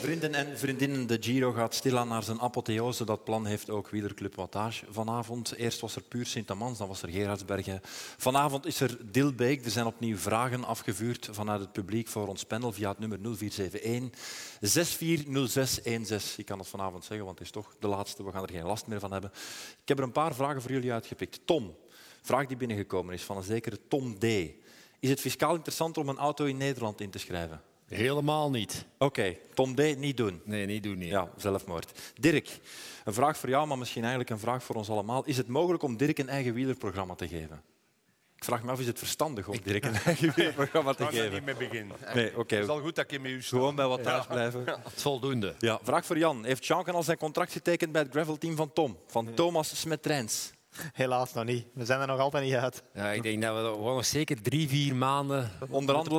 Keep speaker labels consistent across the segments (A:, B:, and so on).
A: Vrienden en vriendinnen, de Giro gaat stilaan naar zijn apotheose. Dat plan heeft ook Wielerclub Wattage vanavond. Eerst was er puur Sint-Amans, dan was er Gerardsbergen. Vanavond is er Dilbeek. Er zijn opnieuw vragen afgevuurd vanuit het publiek voor ons panel via het nummer 0471 640616. Ik kan dat vanavond zeggen, want het is toch de laatste. We gaan er geen last meer van hebben. Ik heb er een paar vragen voor jullie uitgepikt. Tom, vraag die binnengekomen is van een zekere Tom D. Is het fiscaal interessant om een auto in Nederland in te schrijven?
B: Helemaal niet.
A: Oké, Tom D, niet doen.
B: Nee, niet doen niet.
A: Ja, zelfmoord. Dirk, een vraag voor jou, maar misschien eigenlijk een vraag voor ons allemaal. Is het mogelijk om Dirk een eigen wielerprogramma te geven? Ik vraag me af, is het verstandig om Dirk een eigen wielerprogramma te
C: Laat daar niet
A: geven?
C: mee beginnen.
A: Nee, oké.
C: Het is al goed dat je met u staat.
A: Gewoon bij wat thuis blijven.
B: Voldoende.
A: Ja, vraag voor Jan. Heeft Janken al zijn contract getekend bij het gravelteam van Tom? Van Thomas Smetrijns.
D: Helaas nog niet. We zijn er nog altijd niet uit.
B: Ja, ik denk dat we er gewoon nog zeker drie, vier maanden
A: Onderhandelen.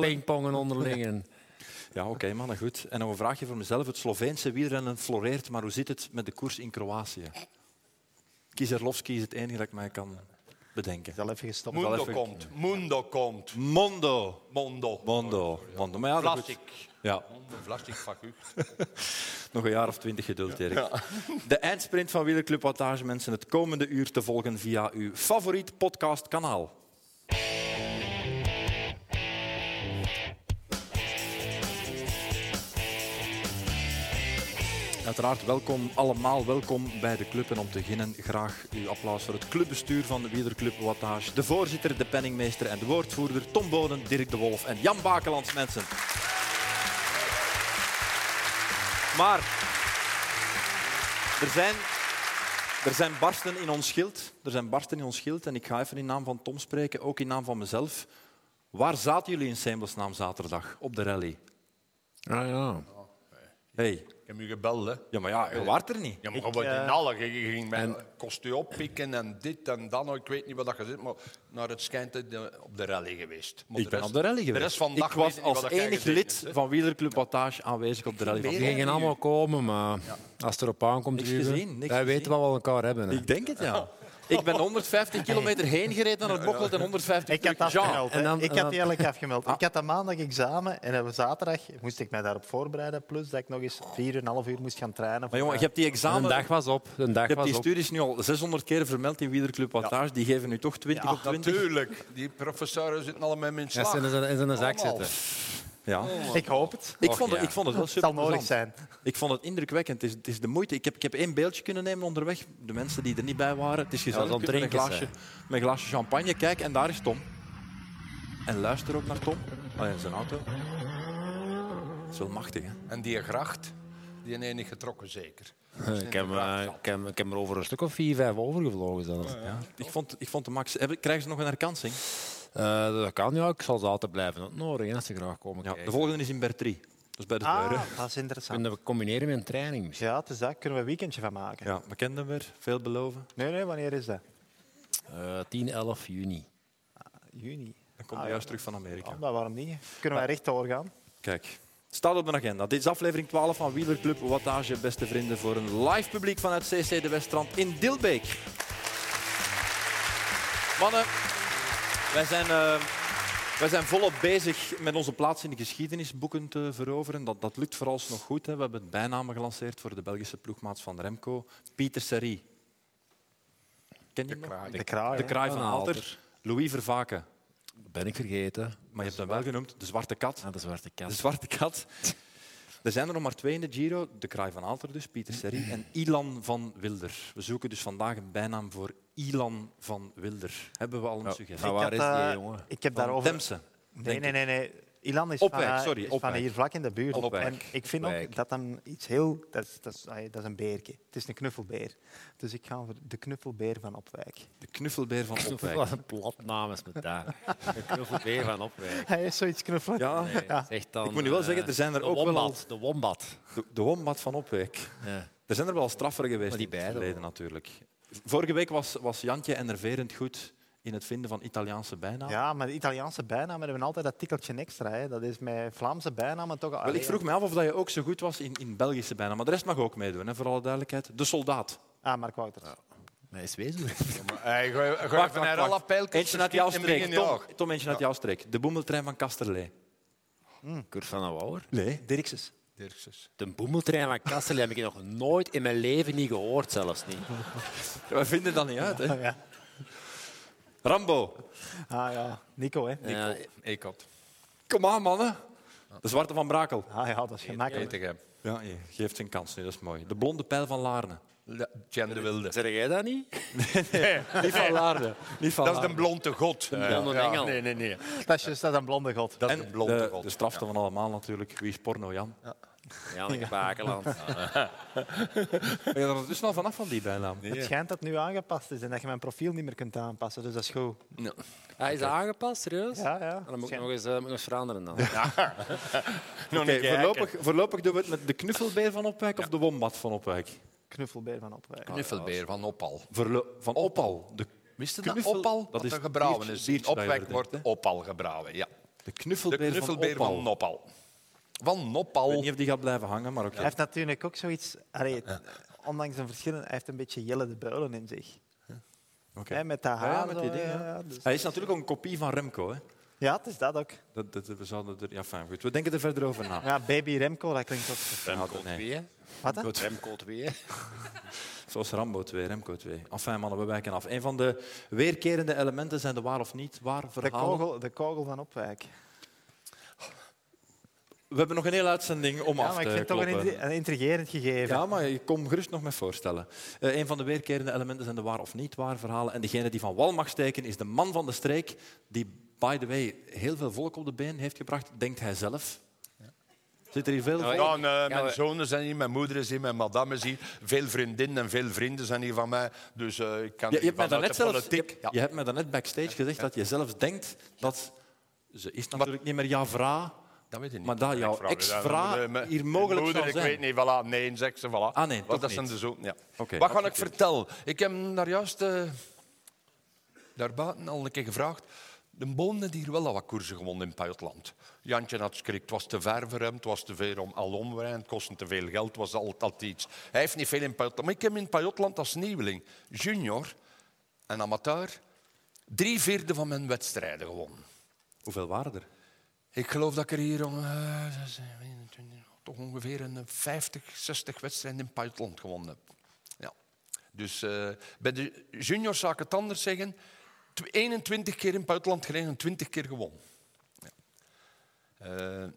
B: moeten pingpongen onderling. En
A: Ja, oké, mannen, goed. En nog een vraagje voor mezelf. Het Sloveense wielrennen floreert, maar hoe zit het met de koers in Kroatië? Kieserlovski is het enige dat ik mij kan bedenken.
D: Ik zal even gestopt.
A: Moet-
C: Mundo
A: even-
C: komt. Mundo komt.
A: Mondo.
C: Mondo.
A: Mondo. Mondo. Maar ja, dat goed.
C: Plastic.
A: Ja,
C: Mondo, plastic vacucht.
A: nog een jaar of twintig geduld, Dirk. De eindsprint van Wielerclub Wattage, mensen, het komende uur te volgen via uw favoriet podcastkanaal. Uiteraard welkom allemaal, welkom bij de club. En om te beginnen graag uw applaus voor het clubbestuur van de Wielerclub Wattage. De voorzitter, de penningmeester en de woordvoerder Tom Boden, Dirk de Wolf en Jan Bakelands, mensen. Maar er zijn, er zijn barsten in ons schild. Er zijn barsten in ons schild. En ik ga even in naam van Tom spreken, ook in naam van mezelf. Waar zaten jullie in Sembelsnaam zaterdag op de rally?
B: ah, ja.
A: Hey.
C: Ik heb u gebeld, hè.
A: Ja, maar ja,
C: Eh,
A: je waart er niet.
C: Ja, maar je wordt in
D: eh,
C: alle. Je je ging mijn kost u oppikken en dit en dan. Ik weet niet wat dat je zit, maar naar het schijnt het, eh, op de rally geweest. Maar
A: Ik ben
C: rest-
A: op de rally
C: De
A: geweest.
C: rest van de dag
A: ik was
C: weet niet wat
A: als
C: dat jij
A: enig
C: gezeten
A: lid
C: hebt, hè.
A: van Wielerclub Wattage aanwezig op de rally van
B: Die gingen allemaal komen, maar als het erop aankomt,
A: Niks
B: Ruben,
A: gezien, niks
B: wij
A: gezien.
B: weten wat we aan elkaar hebben. hè.
A: Ik denk het, ja. Ik ben 150 kilometer heen gereden naar het Bocholt en 150
D: Ik had
A: terug. Ja.
D: afgemeld. hè.
B: en dan-
D: ik
B: en dan-
D: had die eigenlijk afgemeld.
A: Ah.
D: Ik had dat maandag examen en op zaterdag moest ik mij daarop voorbereiden. Plus dat ik nog eens 4,5 uur moest gaan trainen.
A: Maar jongen, je hebt die
B: Een
A: examen...
B: dag was op. Een dag
A: Je hebt
B: was
A: die
B: op.
A: studies nu al 600 keer vermeld in Wielerclub Wattage. Die geven nu toch 20 op 20.
C: Natuurlijk. Die professoren zitten allemaal met mijn
B: Ja,
C: slag.
B: ze in zijn- in zijn zak
C: Allemaal.
B: zitten.
A: Ja.
D: Ik hoop het.
A: Ik,
B: Och,
A: vond het,
B: ja.
A: ik vond het wel
D: Het
A: super
D: zal nodig zijn.
A: Ik vond het indrukwekkend. Het is, het is de moeite. Ik heb, ik heb één beeldje kunnen nemen onderweg. De mensen die er niet bij waren. Het is gezellig.
B: Ja, dan
A: Je kunt met een
B: drinken
A: glaasje, met een glaasje champagne. Kijk, en daar is Tom. En luister ook naar Tom. Ah, ja, zijn auto. Dat is wel machtig, hè?
C: En die gracht, die ene niet getrokken zeker.
B: Ik heb, eh, ik, heb, ik heb er over een stuk of vier, vijf overgevlogen zelfs.
A: Oh, Ik vond, ik vond de max. Hebben- Krijgen ze nog een herkansing?
B: Eh, dat kan, ja. Ik zal ze altijd blijven ontnodigen hè, als ze graag komen
A: Ja,
B: kijken.
A: de volgende is in Bertrie. Dat is bij de deur. hè.
D: Ah, dat is interessant.
B: Kunnen we combineren met een training misschien?
D: Ja, het is dat. Kunnen we een weekendje van maken?
A: Ja, we kennen hem weer. Veel beloven.
D: Nee, nee, wanneer is dat?
B: Eh, 10, 11 juni.
D: Juni.
A: Dan komt
D: Ah,
A: hij
D: ja.
A: juist terug van Amerika.
D: Oh, maar waarom niet? Kunnen wij rechtdoor gaan?
A: Kijk, het staat op mijn agenda. Dit is aflevering 12 van Wielerclub Wattage, beste vrienden, voor een live publiek vanuit CC de Weststrand in Dilbeek. Mannen, wij zijn, eh, wij zijn volop bezig met onze plaats in de geschiedenisboeken te veroveren. Dat, dat lukt vooralsnog goed. Hè. We hebben het bijnamen gelanceerd voor de Belgische ploegmaat van Remco, Pieter Serie. Ken je hem nog?
D: De kraai.
A: De
D: hè?
A: Kraai van
B: Van
A: Alter,
B: Aalter.
A: Louis Vervaken.
B: Dat ben ik vergeten.
A: Maar je hebt hem wel genoemd, de Zwarte Kat.
B: Ah, de zwarte
A: De
B: kat.
A: zwarte kat. Er zijn er nog maar twee in de Giro. De Kraai van Aalter dus, Pieter Serri en Ilan van Wilder. We zoeken dus vandaag een bijnaam voor Ilan van Wilder. Hebben we al een suggestie?
B: Maar
D: Ik
B: waar
D: had,
B: is die,
D: eh,
B: jongen?
D: Ik heb
A: Van
D: daarover
A: Temse.
D: Nee,
A: denk
D: nee,
A: ik.
D: nee, nee. Ilan is
A: Opwijk,
D: van, eh,
A: sorry,
D: is van
A: Opwijk.
D: hier vlak in de buurt.
A: Opwijk.
D: En ik vind
B: Opwijk.
D: ook dat dan iets heel... Dat is, dat, is, ah, dat is een beertje. Het is een knuffelbeer. Dus ik ga voor de knuffelbeer van Opwijk.
A: De knuffelbeer van Opwijk.
B: Wat een platnaam is met daar. Ik wil voor weer gaan opwijken.
D: Hij is zoiets knuffelen.
A: Ja,
B: Nee, zeg dan,
A: Ik moet nu wel
B: eh,
A: zeggen, er zijn er
B: de
A: ook wel
B: wombat,
A: al-
B: De wombat.
A: de, de wombat van Opwijk.
B: Ja.
A: Er zijn er wel strafferen geweest
B: Maar die
A: in het
B: beide
A: verleden natuurlijk. Vorige week was, was Jantje enerverend goed in het vinden van Italiaanse bijnamen.
D: Ja, maar de Italiaanse bijnamen hebben altijd dat tikkeltje extra. Hè. Dat is met Vlaamse bijnamen toch...
A: Wel, ik vroeg me af of dat je ook zo goed was in, in Belgische bijnamen. Maar de rest mag ook meedoen, hè, voor alle duidelijkheid. De soldaat.
D: Ah, Mark Wouters.
B: Nee, is wezen.
C: Hey, ga, ga
A: Wacht,
C: van
A: wacht,
C: haar
A: wacht.
C: alle pijltjes
A: Eentje uit jouw
C: verschieten en
A: streek.
C: beginnen
A: Tom,
C: jagen.
A: Tom, eentje uit jouw streek. De boemeltrein van Kasterlee.
B: Kurt van der Wouwer.
A: Nee.
D: Dirkses.
C: Dirkses.
E: De boemeltrein van Kassel heb ik nog nooit in mijn leven niet gehoord, zelfs niet.
A: We vinden dat niet uit, hè?
D: ja.
A: Rambo.
D: Ah ja, Nico, hè?
E: Ja,
C: Eekot.
A: Kom aan, mannen. De zwarte van Brakel.
D: Ah ja, dat is gemakkelijk.
C: Petegem.
A: Ja, je geeft een kans nu, dat is mooi. De blonde pijl van Laarne.
C: Jan de Wilde.
E: zeg jij dat niet?
A: Niet van Laarne. Niet van
C: Dat is
A: Laarne.
C: de blonde god.
E: blonde engel.
C: Nee, nee, nee.
D: Dat is juist dat een blonde god.
C: Dat is de
A: en
C: blonde
A: de,
C: god.
A: de strafste van allemaal natuurlijk. Wie is porno, Jan?
E: Janneke Bakeland. Ah,
A: Ben je er dus al vanaf van die bijnaam?
D: Het schijnt dat nu aangepast is en dat je mijn profiel niet meer kunt aanpassen, dus dat is goed.
E: Hij is aangepast, serieus?
D: Ja, ja.
E: Dan moet ik
D: Schijn-
E: nog eens, eh, moet ik nog eens veranderen dan.
C: Nog een
A: Oké,
C: keer.
A: voorlopig, voorlopig doen we het met de knuffelbeer van Opwijk of de wombat van Opwijk?
D: Knuffelbeer van Opwijk.
C: Knuffelbeer van Oppal.
A: Verlo- van Opal. De,
C: Wist je
A: dat?
C: dat Oppal?
A: Dat
C: Dat
A: is
C: is gebrouwen.
A: biertje-
C: Is.
A: biertje dat je
C: Opwek
A: verdenkt,
C: wordt Oppal gebrouwen, ja.
A: de
C: De
A: knuffelbeer,
C: knuffelbeer
A: van Opal.
C: van Noppal. Van
A: Ik weet
C: Noppal.
A: niet of die gaat blijven hangen, maar oké.
D: Hij heeft natuurlijk ook zoiets, allee, ondanks zijn verschillen, hij heeft een beetje Jelle de Beulen in zich.
A: Oké.
D: Hè, met dat
A: Ja,
D: haar.
A: ja, met die
D: zo,
A: dingen,
D: ja,
A: ja.
D: ja, dus-
A: Hij is natuurlijk ook een kopie van Remco. Hè?
D: ja, het is dat ook.
A: Dat, dat, we zouden er, ja, fijn, goed. We denken er verder over na.
D: Ja, baby Remco, dat klinkt ook...
A: Remco nee.
E: Wie, hè?
D: Wat? hè?
A: Goed.
E: Remco 2.
A: Zoals Rambo 2, Remco 2. Enfin, mannen, we wijken af. Een van de weerkerende elementen zijn de waar of niet waar
D: De
A: verhalen.
D: kogel, de kogel van Opwijk.
A: We hebben nog een hele uitzending om
D: Ja,
A: af
D: maar
A: te
D: ik vind het toch een,
A: kloppen.
D: intri- een intrigerend gegeven.
A: Ja, maar je kom gerust nog met voorstellen. Eh, een van de weerkerende elementen zijn de waar of niet waar verhalen. En degene die van wal mag steken is de man van de streek, die, by the way, heel veel volk op de been heeft gebracht, denkt hij zelf. Zit er hier veel volk?
C: Ja, en, eh, mijn
E: we-
C: zonen zijn hier, mijn moeder is hier, mijn madame is hier. Veel vriendinnen en veel vrienden zijn hier van mij. Dus eh, ik kan
A: Je, je, hebt mij
C: vanuit
A: daarnet
C: de
A: zelfs, je,
C: politiek...
A: hebt- je hebt mij daarnet backstage gezegd dat je zelfs denkt dat... Ze is natuurlijk niet meer jouw vrouw,
C: Dat weet ik niet.
A: maar dat jouw
C: Ik vraag het aan
A: ex-vrouw
C: mijn moeder,
A: hier
C: mijn
A: mogelijk
C: moeder,
A: zou
C: ik weet
A: zijn.
C: niet, voilà, nee, zegt ze, voilà.
A: Ah, nee,
C: Want
A: toch
C: dat zijn
A: niet.
C: de zoon, ja.
A: Oké,
C: Wat ga ik
A: accepteer.
C: vertellen? Ik heb daar juist eh daarbuiten al een keer gevraagd. De boom heeft hier wel al wat koersen gewonnen in Pajotland. Jantje had schrik. Het was te ver voor hem, het was te veel om alom rijden, het kostte te veel geld, het was altijd, altijd iets. Hij heeft niet veel in Pajotland. Maar ik heb hem in Pajotland als nieuweling, junior en amateur, drie vierde van mijn wedstrijden gewonnen.
A: Hoeveel waren er?
C: Ik geloof dat ik er hier om eh, zes, eh, 21, toch ongeveer een eh, 50, 60 wedstrijden in Python gewonnen heb. Ja. Dus eh, bij de juniors zou ik het anders zeggen. Tw- 21 keer in Python gereden en 20 keer gewonnen. Ja. Eh,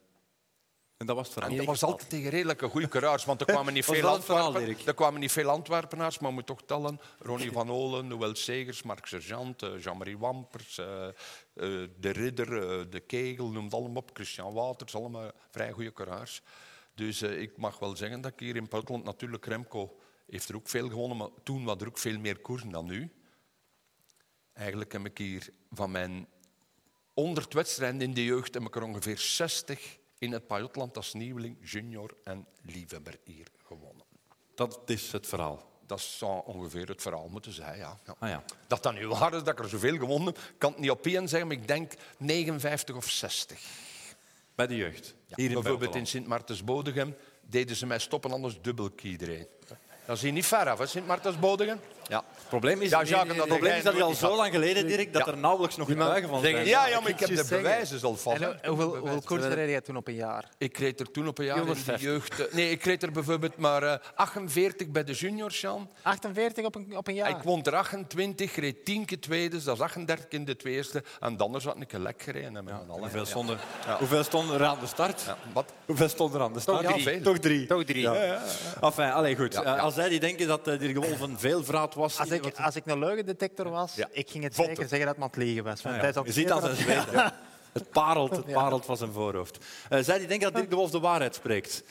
A: En dat was het verhaal.
C: en dat was altijd tegen redelijke goede coureurs, want er kwamen niet
A: Was
C: veel
A: dat het verhaal,
C: Antwerpen,
A: Dirk?
C: er kwamen niet veel Antwerpenaars, maar je moet toch tellen. Ronnie van Olen, Noël Segers, Marc Sergeant, eh, Jean-Marie Wampers, eh, eh, De Ridder, eh, De Kegel, noem het allemaal op. Christian Waters, allemaal vrij goede coureurs. Dus eh, ik mag wel zeggen dat ik hier in Portland natuurlijk Remco heeft er ook veel gewonnen, maar toen was er ook veel meer koersen dan nu. Eigenlijk heb ik hier van mijn 100 wedstrijden in de jeugd heb ik er ongeveer 60 in het Pajotland als nieuweling, junior en liefhebber hier gewonnen.
A: Dat is het verhaal.
C: Dat zou ongeveer het verhaal moeten zijn, ja. ja.
A: Ah ja.
C: Dat dat nu waar is, dat ik er zoveel gewonnen heb, kan het niet op één zeggen, maar ik denk 59 of 60.
A: Bij de jeugd.
C: Ja,
A: Hier in
C: Bijvoorbeeld in
A: Belgeland.
C: Sint-Maartens-Bodegem deden ze mij stoppen, anders dubbel ik iedereen. Dat is hier niet ver af, hè, Sint-Maartens-Bodegem? Ja.
A: Het probleem is,
C: Ja,
A: nee, nee,
C: Jacques,
A: nee,
C: dat
A: het probleem
C: jij
A: is dat je al
C: nooit
A: zo
C: had.
A: lang geleden, Dirk, dat er nauwelijks nog getuigen van zijn.
C: Ja, ja, maar ik heb de
D: Iets zeggen.
C: bewijzen al van.
D: En eh,
C: hè.
D: hoe- hoeveel, hoeveel koersen reed jij toen op een jaar?
C: Ik reed er toen op een jaar in de jeugd. eh, Nee, ik reed er bijvoorbeeld maar eh, 48 bij de juniors, Jan.
D: 48 op een, op een jaar?
C: Ik won er 28, reed 10 keer tweede, dus dat is 38 in de tweede. En dan had ik een lek gereden. hè, Met ja, alle.
A: Hoeveel stonden, hoeveel stonden er aan de start?
C: Ja, wat?
A: Hoeveel stonden er aan de start?
C: Toch drie. Ja, veel.
A: Toch drie.
E: Toch drie.
A: Enfin, allee, goed.
C: Ja, ja.
A: Eh, als zij die denken dat eh, Dirk Wolf een veelvraat was...
D: Als ik, als ik een leugendetector was,
C: Ja.
D: ik ging het
C: Votten.
D: zeker zeggen dat het aan het liegen was. Want
A: Ah, Ja,
D: hij is
A: ja.
D: aan
A: Je
D: het
A: ziet aan zijn
D: schreeuwen.
A: zweet. ja. Het parelt, het parelt van zijn voorhoofd. Eh, zij die denken dat Dirk de Wolf de waarheid spreekt.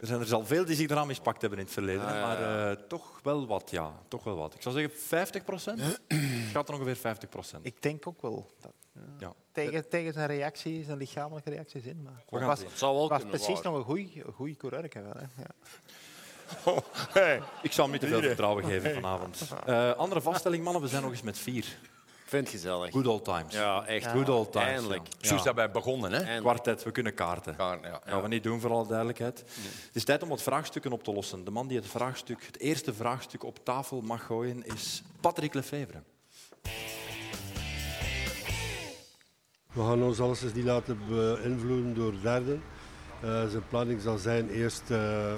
A: Er zijn er al veel die zich eraan mispakt hebben in het verleden. hè, maar eh, toch wel wat, ja. Toch wel wat. Ik zou zeggen 50 procent. Het gaat er ongeveer 50 procent.
D: Ik denk ook wel. Dat,
A: Ja.
D: tegen, tegen zijn reacties, zijn lichamelijke reacties in. Maar
A: gaan
D: was,
A: zien.
E: Het zou wel
D: was
E: kunnen
D: precies
E: waren.
D: nog een goede coureur. ik wel, hè. Ja.
A: Ik zal hem niet te veel vertrouwen geven vanavond. Eh, andere vaststelling, mannen. We zijn nog eens met vier.
E: Ik vind het gezellig.
A: Good old times.
E: Ja, echt.
A: Good old times.
E: Eindelijk.
A: ja.
C: Zo is dat bij begonnen, hè?
E: En
A: Kwartet, we kunnen kaarten.
C: Ja, ja.
A: Dat gaan we niet doen, voor alle duidelijkheid. Het is tijd om wat vraagstukken op te lossen. De man die het, vraagstuk, het eerste vraagstuk op tafel mag gooien is Patrick Lefevre.
F: We gaan ons alleszins niet laten beïnvloeden door derden. Eh, zijn planning zal zijn eerst eh,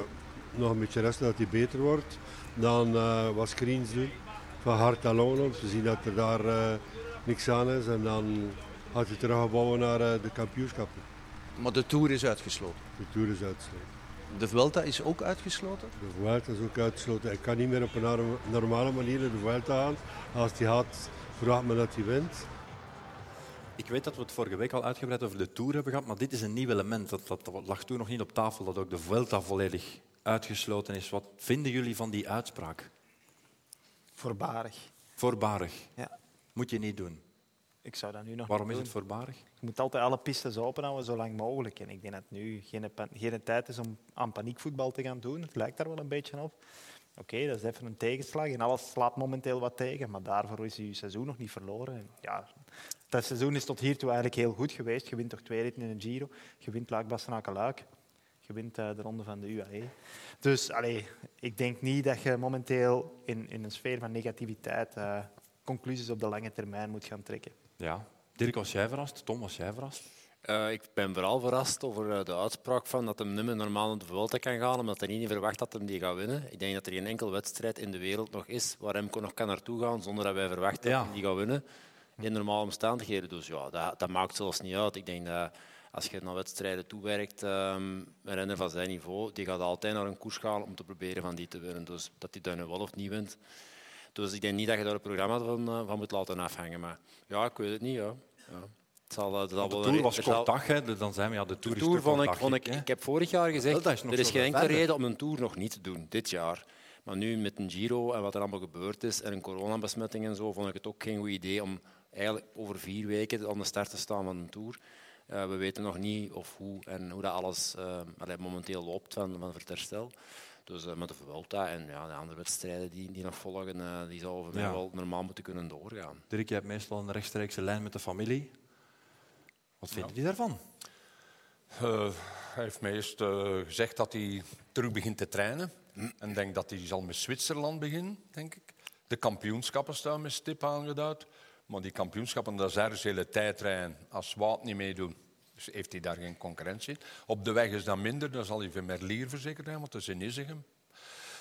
F: nog een beetje rusten dat hij beter wordt. Dan eh, wat screens doen van hard naar long om te zien dat er daar eh, niks aan is. En dan gaat hij teruggebouwen naar eh, de kampioenschappen.
G: Maar de Tour is uitgesloten.
F: De Tour is uitsluitend.
G: De Vuelta is ook uitgesloten.
F: De Vuelta is ook uitgesloten. Hij kan niet meer op een norm- normale manier naar de Vuelta gaan. Als hij gaat, verwacht men dat hij wint.
A: Ik weet dat we het vorige week al uitgebreid over de Tour hebben gehad, maar dit is een nieuw element. Dat, dat, dat lag toen nog niet op tafel, dat ook de Vuelta volledig uitgesloten is. Wat vinden jullie van die uitspraak?
D: Voorbarig.
A: Voorbarig.
D: Ja.
A: Moet je niet doen.
D: Ik zou dat nu nog
A: Waarom
D: niet
A: is
D: doen.
A: het voorbarig?
D: Je moet altijd alle pistes openhouden zo lang mogelijk. En ik denk dat het nu geen, pan- geen tijd is om aan paniekvoetbal te gaan doen. Het lijkt daar wel een beetje op. Oké, dat is even een tegenslag en alles slaat momenteel wat tegen. Maar daarvoor is je seizoen nog niet verloren. En ja, dat seizoen is tot hiertoe eigenlijk heel goed geweest. Je wint toch twee ritten in een Giro. Je wint Luik, Bastenaken, Luik. Je wint eh, de ronde van de UAE. Dus allee, ik denk niet dat je momenteel in, in een sfeer van negativiteit eh, conclusies op de lange termijn moet gaan trekken.
A: Ja. Dirk, was jij verrast? Tom, was jij verrast?
E: Eh, ik ben vooral verrast over eh, de uitspraak van dat hem niet meer normaal naar de Vuelta kan gaan, omdat hij niet verwacht dat hem die gaat winnen. Ik denk dat er geen enkele wedstrijd in de wereld nog is waar Remco nog kan naartoe gaan zonder dat wij verwachten
A: Ja.
E: dat hij die gaat winnen. In normale omstandigheden. Dus ja, dat, dat maakt zelfs niet uit. Ik denk dat als je naar wedstrijden toewerkt, ehm een renner van zijn niveau, die gaat altijd naar een koers gaan om te proberen van die te winnen. Dus dat hij daar nu wel of niet wint. Dus ik denk niet dat je daar een programma van, eh, van moet laten afhangen. Maar ja, ik weet het niet. Ja. Ja. Het zal, eh, er zal
A: Want
E: wel
A: de Tour
E: een-
A: was
E: er zal-
A: kort dag, hè. dan zijn we ja, de Tour
E: de
A: is
E: Tour
A: te kort
E: vond ik,
A: dag,
E: vond ik,
A: hè.
E: ik heb vorig jaar gezegd,
A: Wel, dat is nog
E: er is
A: zo
E: geen enkele
A: verder.
E: reden om een Tour nog niet te doen, dit jaar. Maar nu met een Giro en wat er allemaal gebeurd is en een coronabesmetting en zo, vond ik het ook geen goed idee om eigenlijk over vier weken aan de start te staan van een Tour. Eh, we weten nog niet of hoe en hoe dat alles eh, allee, momenteel loopt van, van het herstel. Dus eh, met de Vuelta en ja, de andere wedstrijden die, die nog volgen, eh, die zouden voor mij
A: Ja.
E: wel normaal moeten kunnen doorgaan.
A: Dirk, jij hebt meestal een rechtstreekse lijn met de familie. Wat vinden die daarvan?
C: Eh, hij heeft mij eerst eh, gezegd dat hij terug begint te trainen. En ik denk dat hij zal met Zwitserland beginnen, denk ik. De kampioenschappen staan met stip aangeduid. Maar die kampioenschappen, dat is ergens hele tijdrijden. Als Wout niet meedoet, dus heeft hij daar geen concurrentie. Op de weg is dat minder, dan zal hij van Merlier verzekerd zijn, want dat is in Izigen.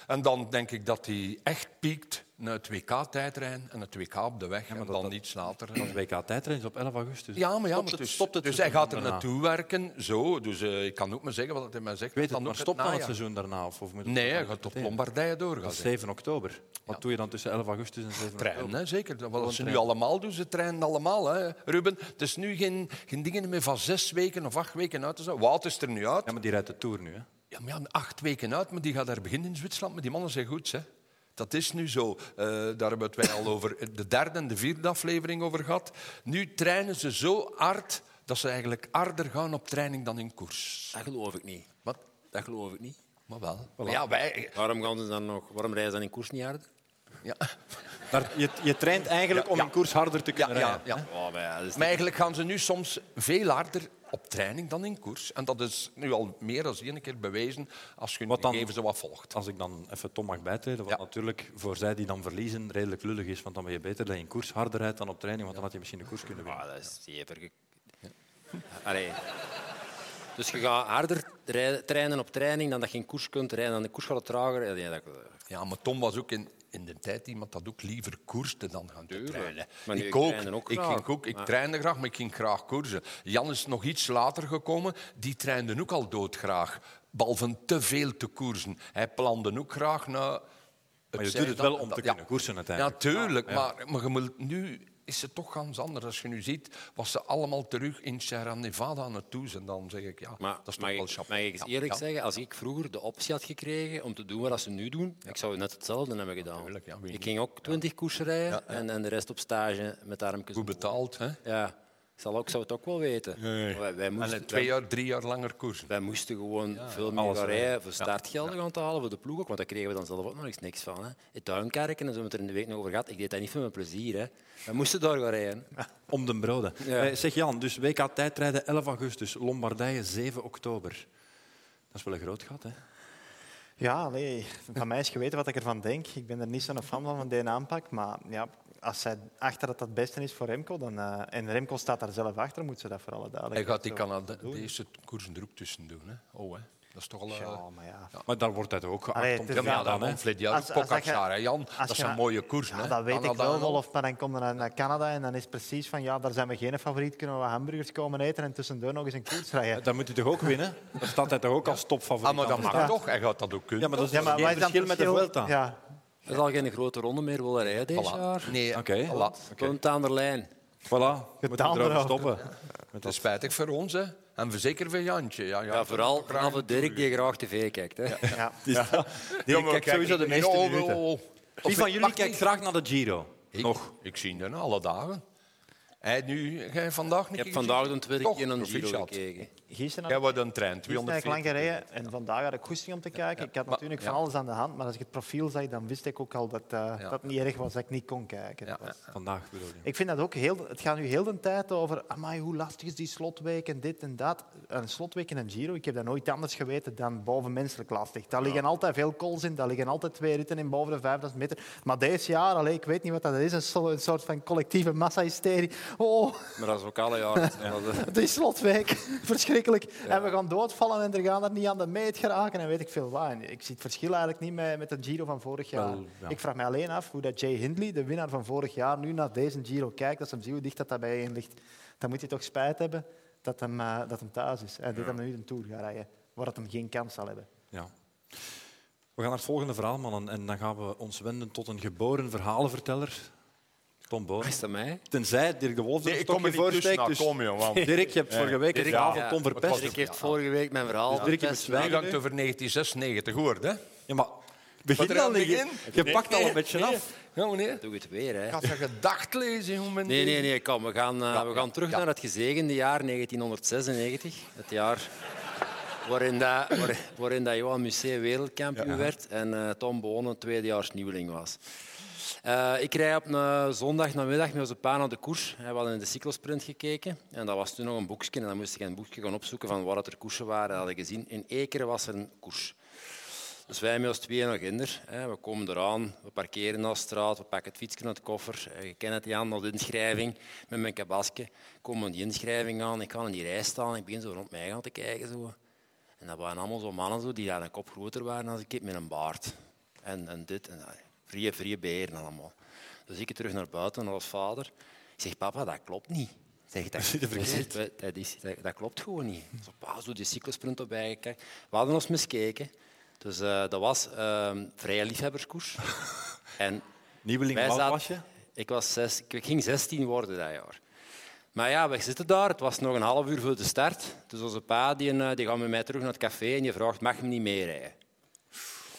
C: En dan denk ik dat hij echt piekt naar het WK-tijdrijden en het WK op de weg. en dan iets later.
A: Dat WK-tijdrijden is op 11 augustus.
C: Ja, maar, ja,
A: Stopt
C: maar
A: het-
C: dus,
A: stopt het
C: dus hij gaat er
A: daarna.
C: naartoe werken. Zo, dus eh, ik kan ook maar zeggen wat hij mij zegt.
A: Ik weet het,
C: dan
A: maar
C: ook
A: stopt dan het
C: najaar.
A: seizoen daarna? Of, of moet het
C: Nee,
A: dan
C: hij
A: ook
C: gaat tot
A: meteen?
C: Lombardije doorgaan.
A: Dat is 7 oktober. Wat doe je dan tussen 11 augustus en 7 oktober?
C: Treinen, hè, zeker. Dat Wat ze nu allemaal doen, ze trainen allemaal, hè, Ruben. Het is nu geen, geen dingen meer van zes weken of acht weken uit te zijn. Wout is er nu uit.
A: Ja, maar die rijdt de Tour nu. Hè?
C: Ja, maar ja, acht weken uit, maar die gaat daar beginnen in Zwitserland. Maar die mannen zijn goed, hè. Dat is nu zo. Eh, daar hebben we het wij al over eh, de derde en de vierde aflevering over gehad. Nu trainen ze zo hard dat ze eigenlijk harder gaan op training dan in koers.
E: Dat geloof ik niet.
C: Wat?
E: Dat geloof ik niet.
C: Maar wel. Ja, wij...
E: Waarom, gaan ze dan nog, waarom rijden ze dan in koers niet harder?
C: Ja.
A: Daar- je, je traint eigenlijk om een koers harder te
C: Ja,
A: kunnen
C: ja,
A: rijden.
C: ja.
E: Oh, maar ja, dat is
C: Maar eigenlijk gaan ze nu soms veel harder op training dan in koers. En dat is nu al meer dan één keer bewezen als je
A: Wat dan?
C: even zo wat volgt.
A: Als ik dan even Tom mag bijtreden, wat
C: Ja.
A: natuurlijk voor zij die dan verliezen redelijk lullig is, want dan ben je beter dat je in koers harder rijdt dan op training, want dan had je misschien de koers kunnen winnen.
E: Ah, dat is zeker. ge- Allee. Dus je gaat harder rij- trainen op training dan dat je in koers kunt rijden. Dan de koers gaat het trager. Ja, nee, dat,
C: Ja, maar Tom was ook in, in de tijd iemand dat ook liever koerste dan gaan te trainen.
E: Maar nu,
C: ik
E: ik
C: ook.
E: trainde ook
C: ik,
E: graag.
C: ging ook ik trainde graag, maar ik ging graag koersen. Jan is nog iets later gekomen. Die trainde ook al doodgraag. Behalve te veel te koersen. Hij plande ook graag naar...
A: Maar je
C: opzij
A: doet het
C: dan-
A: wel om te
C: ja.
A: kunnen koersen uiteindelijk.
C: Natuurlijk, maar, maar je moet- nu is het toch ganz anders. Als je nu ziet wat ze allemaal terug in Sierra Nevada aan het doen zijn, dan zeg ik ja,
E: maar
C: dat is toch
E: mag,
C: wel
E: ik, mag
C: chapeau.
E: ik eens
C: Ja,
E: eerlijk
C: ja,
E: zeggen, als ik vroeger de optie had gekregen om te doen wat ze nu doen, ik zou net hetzelfde hebben gedaan.
C: tuurlijk, ja, wie
E: ik
C: niet?
E: ging ook twintig koersen rijden En, en de rest op stage met armpjes.
C: Goed betaald, hè?
E: Ja, ik zal ook, zou het ook wel weten. Wij, wij
C: En
E: moesten,
C: een twee jaar, drie jaar langer koersen.
E: Wij moesten gewoon veel meer gaan rijden voor startgelden gaan te halen voor de ploeg ook, want daar kregen we dan zelf ook nog eens niks van. Hè. Het duinkerken, en zo hebben we het er in de week nog over gehad, ik deed dat niet voor mijn plezier. Hè. We moesten daar gaan rijden.
A: Om den broden.
E: Ja.
A: Eh, zeg Jan, dus WK tijdrijden 11 augustus, Lombardije 7 oktober. Dat is wel een groot gat, hè?
D: Ja, nee. Van mij is geweten wat ik ervan denk. Ik ben er niet zo'n fan van, van deze aanpak. Maar ja, als zij achter dat dat het beste is voor Remco, dan, eh, en Remco staat daar zelf achter, moet ze dat voor alle
C: Hij
D: duidelijkheid
C: gaat die
D: zo doen.
C: Canadese koersen er ook tussen doen. Hè? Oh, hè? Dat is toch al... eh,
D: Ja, maar ja.
A: Maar daar wordt dat ook geacht
D: Allee,
A: om
D: het
A: te
D: is
A: gaan
D: wel-
A: dan.
C: dan
A: Hè.
C: Fled jaar
D: Als- als dat je-
C: Pogacar, hè, Jan.
D: als
C: Dat
D: je-
C: zijn mooie koersen.
D: Ja,
C: hè.
D: dat weet ik
C: Canada
D: wel,
C: en al.
D: Wolf. Maar dan komt er naar- naar Canada en dan is precies van ja, daar zijn we geen favoriet. Kunnen we wat hamburgers komen eten en tussendoor nog eens een koers rijden?
A: Dan moet hij toch ook winnen? Dan staat hij toch ook als topfavoriet?
C: Ah, maar dat
A: aan de
C: mag
A: start?
C: toch? Hij gaat dat ook kunnen.
A: Ja, maar dat is
D: Ja, maar
A: geen
D: wat is dan
A: verschil
D: het
A: met de Vuelta.
D: Ja,
E: Hij zal geen grote ronde meer willen rijden dit
C: Voilà.
E: jaar.
C: Nee,
A: Oké.
C: voilà.
E: Komt aan de lijn.
A: Voilà, we moeten
D: Gedaan
A: erover
D: erover.
A: stoppen.
C: Het is spijtig voor ons, hè. En zeker voor Jantje. Ja,
E: Ja, vooral vanaf de Dirk die graag tv kijkt. Hè.
D: ja.
A: Die kijkt sowieso de meeste minuten. Wie van jullie kijkt
C: kijkt
A: graag naar de Giro? Nog.
C: Nog. Ik zie hem alle dagen. Hij nu, jij vandaag niet
E: Ik heb
C: gezien?
E: vandaag de tweede
C: Toch,
E: keer een
C: proficiat.
E: Giro gekeken.
D: Gisteren
C: Jij
D: had
C: wordt een trein,
D: gisteren heb ik lang
C: 240.
D: gereden en vandaag had ik goesting om te kijken. Ik had natuurlijk van alles aan de hand, maar als ik het profiel zag, dan wist ik ook al dat eh, dat het niet erg was dat ik niet kon kijken.
C: Ja.
D: Dat was-
A: Vandaag bedoel je.
D: Ik vind dat ook heel... Het gaat nu heel de tijd over... Amai, hoe lastig is die slotweek en dit en dat. Een slotweek en een Giro, ik heb dat nooit anders geweten dan bovenmenselijk lastig. Daar liggen altijd veel calls in, daar liggen altijd twee ritten in boven de 5000 meter. Maar deze jaar, allee, ik weet niet wat dat is, een so- een soort van collectieve massahysterie. Oh,
E: Maar dat is ook alle jaren. zo. Dat is-
D: het is slotweek. Verschrikkelijk. En we gaan doodvallen en er gaan er niet aan de meet geraken en weet ik veel wat. En ik zie het verschil eigenlijk niet met, met de Giro van vorig jaar.
A: Wel, ja.
D: Ik vraag me alleen af hoe dat Jay Hindley, de winnaar van vorig jaar, nu naar deze Giro kijkt. Als hem ziet hoe dicht dat daarbij in ligt, dan moet hij toch spijt hebben dat hem, eh, dat hem thuis is. En dat hem nu een Tour gaat rijden, waar dat hem geen kans zal hebben.
A: Ja. We gaan naar het volgende verhaal, mannen. En dan gaan we ons wenden tot een geboren verhalenverteller. Tom Boon.
E: Is dat mij?
A: Tenzij Dirk de Wolf er
C: Nee,
A: een
C: ik kom
A: stokje
C: er
A: voor
C: niet tussen.
A: steekt.
C: Nou,
A: Dus
C: kom, jongen.
A: Dirk, je hebt vorige week het verhaal van Tom verpest.
E: Dirk heeft vorige week mijn verhaal
A: Dus Dirk, je
E: verpest.
A: moet zwijgen.
C: Toegang over 1996 gehoord, hè?
A: Ja, maar begin
C: Wat er
A: dan
C: aan
A: niet. Je,
C: begin?
A: je
C: Nee.
A: pakt al
C: Nee.
A: een beetje
C: Nee.
A: af.
C: Ja, meneer.
E: Doe het weer, hè.
C: Gaat zijn gedacht lezen, hoe men
E: Nee, nee, nee, kom. We gaan, eh, we gaan terug
C: ja.
E: naar het gezegende jaar 1996. Het jaar waarin, dat, waar- waarin dat Johan Museeuw wereldkampioen werd en eh, Tom Bonen tweedejaars nieuweling was. Eh, ik rij op een zondag namiddag met onze pa naar de koers. We hadden in de cyclosprint gekeken. En dat was toen nog een boekje. En dan moest ik een boekje gaan opzoeken van waar het er koersen waren. Dat had ik gezien. In Ekeren was er een koers. Dus wij met ons tweeën nog hinder. Hè. We komen eraan, we parkeren naar de straat, we pakken het fietsje uit de koffer. Eh, Je kent het, Jan, naar de inschrijving met mijn kabasje. Komen we die inschrijving aan, ik ga in die rij staan. Ik begin zo rond mij gaan te kijken. Zo. En dat waren allemaal zo mannen zo, die daar een kop groter waren dan ik met een baard. En, en dit en dat. Vrije, vrije beren allemaal. Dus ik terug naar buiten als vader. Ik zeg, papa, dat klopt niet. Zeg, dat, dat, dat, is, dat, dat klopt gewoon niet. Zo, pa, zo die cyclosprint op bijgekijkt. We hadden ons miskeken. Dus eh, dat was ehm vrije liefhebberskoers. en
A: Nieuweling,
E: wij
A: hoe oud was
E: zaten-
A: je?
E: Ik, was zes, ik ging 16 worden dat jaar. Maar ja, we zitten daar. Het was nog een half uur voor de start. Dus onze pa die, eh, die gaat met mij terug naar het café en je vraagt, mag hem niet meerijden?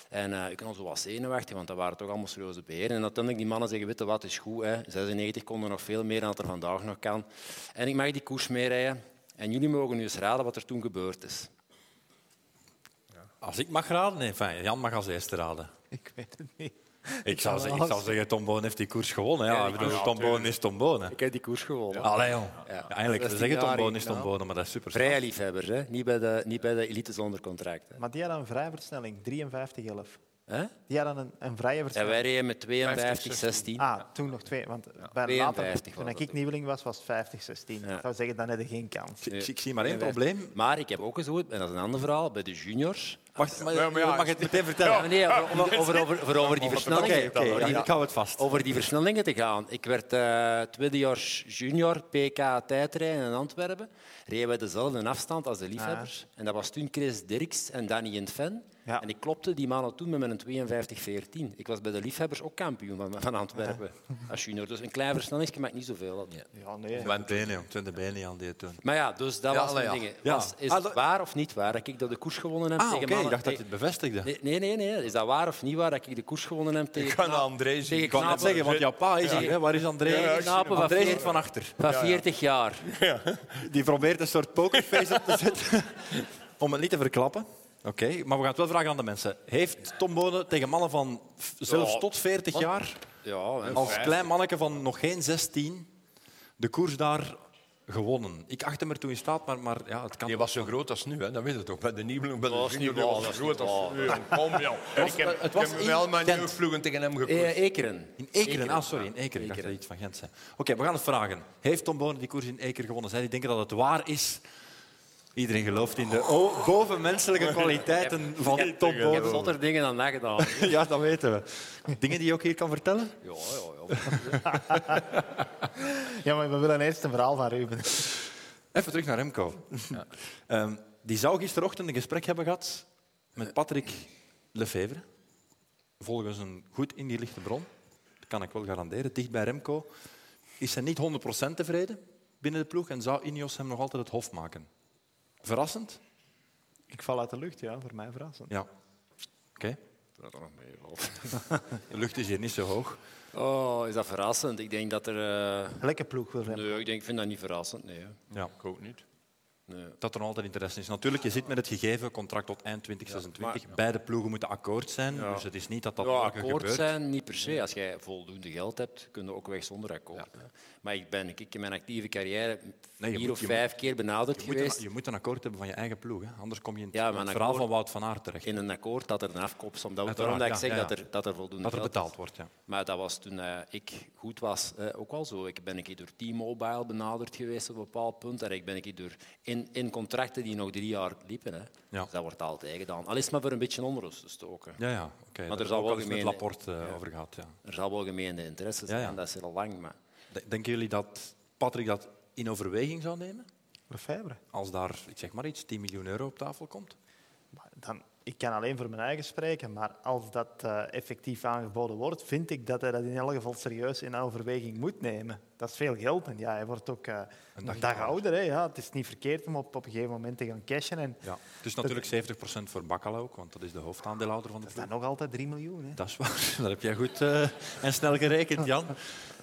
E: En eh, ik kon zo wat zenuwachtig, want dat waren toch allemaal serieuze beren. En uiteindelijk die mannen zeggen, weet je wat, is goed. Hè? 96 kon er nog veel meer dan dat er vandaag nog kan. En ik mag die koers meerijden. En jullie mogen nu eens raden wat er toen gebeurd is.
A: Als ik mag raden? Nee, fijn, Jan mag als eerste raden.
D: Ik weet het niet.
A: Ik zou, zeggen, ik zou zeggen, Tom Boon heeft die koers gewonnen. Ja, ik bedoel, Tom Boon is Tom Boon. hè.
E: Ik heb die koers gewonnen.
A: Allee, joh. Ja, eigenlijk, we
E: 16
A: zeggen Tom
E: jaar
A: Boon is Tom
E: gedaan.
A: Boon, maar dat is super.
E: Vrije liefhebbers, hè? Niet, bij de, niet bij de elite zonder contract. Hè?
D: Maar die hadden een vrije versnelling, 53-11.
E: Hè?
D: Die hadden een, een vrije
E: Ja,
D: versnelling.
E: wij reden met 52, 16.
D: Ah, toen nog twee. Want bij
E: 52
D: later,
E: was
D: toen
E: dat
D: ik
E: ook.
D: nieuweling was, was 50-16. Ik zou zeggen, dan heb je geen kans.
A: Ik, ik zie maar één probleem.
E: Maar ik heb ook eens gehoord, en dat is een ander verhaal, bij de juniors.
A: Wacht, maar, je mag het meteen vertellen.
E: Ja, nee, over, over, over, over, over- over die
A: Oké,
E: versnellingen.
A: oké,
E: over, die,
A: ik hou het vast.
E: over die versnellingen te gaan. Ik werd eh tweedejaars junior PK tijdrijden in Antwerpen. Reden we dezelfde afstand als de liefhebbers. En dat was toen Chris Dirks en Danny Intven.
D: Ja.
E: En ik klopte die mannen toen met mijn 52-14. Ik was bij de liefhebbers ook kampioen van, van Antwerpen als junior. Dus een klein versnelling maakt niet zoveel. uit.
D: Ja, nee.
A: Twente benen, joh. Twente benen aan die toen.
E: Maar ja, dus dat was mijn ding.
A: Ja.
E: Was, is
A: Ah,
E: het
A: dat-
E: waar of niet waar dat ik dat de koers gewonnen heb
A: Ah,
E: tegen
A: oké, ik
E: mannen-
A: dacht dat je
E: tegen-
A: het bevestigde.
E: Nee, nee, nee, nee. Is dat waar of niet waar dat ik de koers gewonnen heb tegen
C: Ik ga naar
E: kna-
C: André zien.
E: tegen
A: Ik wou net
E: knapen-
A: zeggen, want jouw pa is hier. hè. Waar is André?
E: Ja, ik zie hem.
A: André zit van achter.
E: van 40 jaar.
A: Die probeert een soort pokerface op te zetten. Om het niet te verklappen. Oké, maar we gaan het wel vragen aan de mensen. Heeft Tom Bonen tegen mannen van f- zelfs
E: Ja.
A: tot 40 jaar,
E: Ja, hè.
A: als klein manneke van nog geen 16, de koers daar gewonnen. Ik acht hem ertoe in staat, maar, maar ja, het kan...
C: Die was zo groot als nu, hè? dat weet je toch. Bij de Nieuweling, bij de
E: Dat is
C: Junior,
E: niet
C: die
E: waar,
C: was
E: dat is
C: zo groot
E: niet
C: als
E: waar.
C: nu. Kom, jong. Ik heb,
A: het
C: het
A: was
C: was ik
A: in
C: heb wel mijn
A: Gent.
C: nieuwe vloegen tegen hem gekozen.
E: Eh, Ekeren.
A: In Ekeren, ah sorry, in Ekeren. Ik dacht dat hij iets van Gent zei. Oké, we gaan het vragen. Heeft Tom Bonen die koers in Ekeren gewonnen? Zij die denken dat het waar is. Iedereen gelooft in de o- bovenmenselijke kwaliteiten van Tom
E: Ik heb
A: Bonen.
E: zotter dingen dan dat gedaan.
A: Ja, dat weten we. Dingen die je ook hier kan vertellen?
E: Ja, ja, ja.
D: Ja, maar we willen eerst een verhaal van Ruben.
A: Even terug naar Remco. Ehm, die zou gisterochtend een gesprek hebben gehad met Patrick Lefevre. Volgens een goed ingelichte bron, dat kan ik wel garanderen, dicht bij Remco, is hij niet 100% tevreden binnen de ploeg en zou Ineos hem nog altijd het hof maken. Verrassend?
D: Ik val uit de lucht, ja, voor mij verrassend.
A: Ja. Oké. De lucht is hier niet zo hoog.
E: Oh, is dat verrassend? Ik denk dat er... eh,
D: Lekker ploeg wil Remco.
E: Nee, ik, denk, ik vind dat niet verrassend, nee. hè.
A: Ja.
C: Ik ook niet.
A: Dat er nog altijd interesse is. Natuurlijk, je zit met het gegeven contract tot eind 2026. Beide ploegen moeten akkoord zijn. Dus het is niet dat dat
E: Ja,
A: morgen
E: akkoord
A: gebeurt.
E: zijn, niet per se. Als jij voldoende geld hebt, kun je ook weg zonder akkoord. hè. Maar ik ben ik, in mijn actieve carrière
A: Nee, je
E: vier
A: moet-
E: of
A: je
E: vijf keer benaderd
A: Je moet,
E: geweest.
A: een, je moet een akkoord hebben van je eigen ploeg. Hè? Anders kom je in het,
E: Ja, maar
A: in het
E: een
A: verhaal
E: akkoord-
A: van Wout van Aert terecht.
E: in een akkoord dat er een afkoop stond. Dat-
A: Uiteraard,
E: Daarom dat ik
A: ja,
E: zeg
A: ja, ja.
E: dat, er, dat er voldoende
A: Dat er
E: geld is.
A: betaald wordt. Ja.
E: Maar dat was toen eh, ik goed was eh, ook al zo. Ik ben een keer door T-Mobile benaderd geweest op een bepaald punt. En ik ben een keer door in, in contracten die nog drie jaar liepen. Hè.
A: Ja.
E: Dus dat wordt altijd gedaan. Al is het maar voor een beetje onrust te stoken.
A: Ja, ja, oké. Daar
E: er
A: hebben
E: zal
A: we
E: wel
A: ook al eens met
E: gemeen-
A: Laporte eh, over gehad. Ja.
E: Er zal wel gemeende interesse zijn,
A: Ja, ja.
E: dat is heel lang. Maar
A: De- Denken jullie dat Patrick dat in overweging zou nemen?
D: Lefebvre.
A: Als daar, ik zeg maar iets, 10 miljoen euro op tafel komt?
D: Maar Dan, ik kan alleen voor mijn eigen spreken, maar als dat eh, effectief aangeboden wordt, vind ik dat hij dat in elk geval serieus in overweging moet nemen. Dat is veel geld en ja, hij wordt ook eh, een dag, ouder. Hè? Ja, het is niet verkeerd om op, op een gegeven moment te gaan cashen. En
A: Ja. Het is natuurlijk 70% voor Bakkala ook, want dat is de hoofdaandeelhouder van de
D: dat is dan
A: ploeg.
D: nog altijd 3 miljoen. Hè?
A: Dat is waar. Dat heb jij goed eh, en snel gerekend, Jan.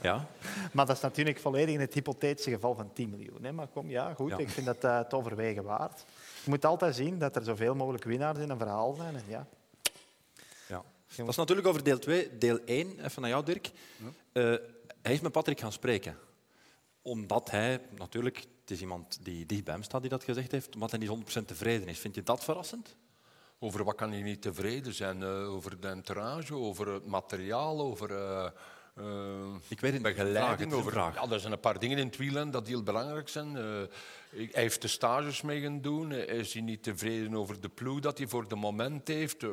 A: Ja,
D: Maar dat is natuurlijk volledig in het hypothetische geval van 10 miljoen. Hè? Maar kom, ja, goed,
A: Ja.
D: ik vind dat eh, het overwegen waard. Je moet altijd zien dat er zoveel mogelijk winnaars in een verhaal zijn. En ja,
A: Ja. Dat is natuurlijk over deel 2. Deel 1, even naar jou, Dirk. Eh, hij is met Patrick gaan spreken. Omdat hij, natuurlijk, het is iemand die dicht bij hem staat die dat gezegd heeft, omdat hij niet 100% tevreden is. Vind je dat verrassend?
C: Over wat kan hij niet tevreden zijn? Eh, over de entourage, over het materiaal, over... eh, eh,
A: Ik weet het niet. Vraag, het
C: Begeleiding
A: is een
C: over
A: vraag.
C: Ja, er zijn een paar dingen in het wielrennen dat heel belangrijk zijn. Eh, ik- hij heeft de stages mee gaan doen. Eh, Is hij niet tevreden over de ploeg dat hij voor de moment heeft? Eh,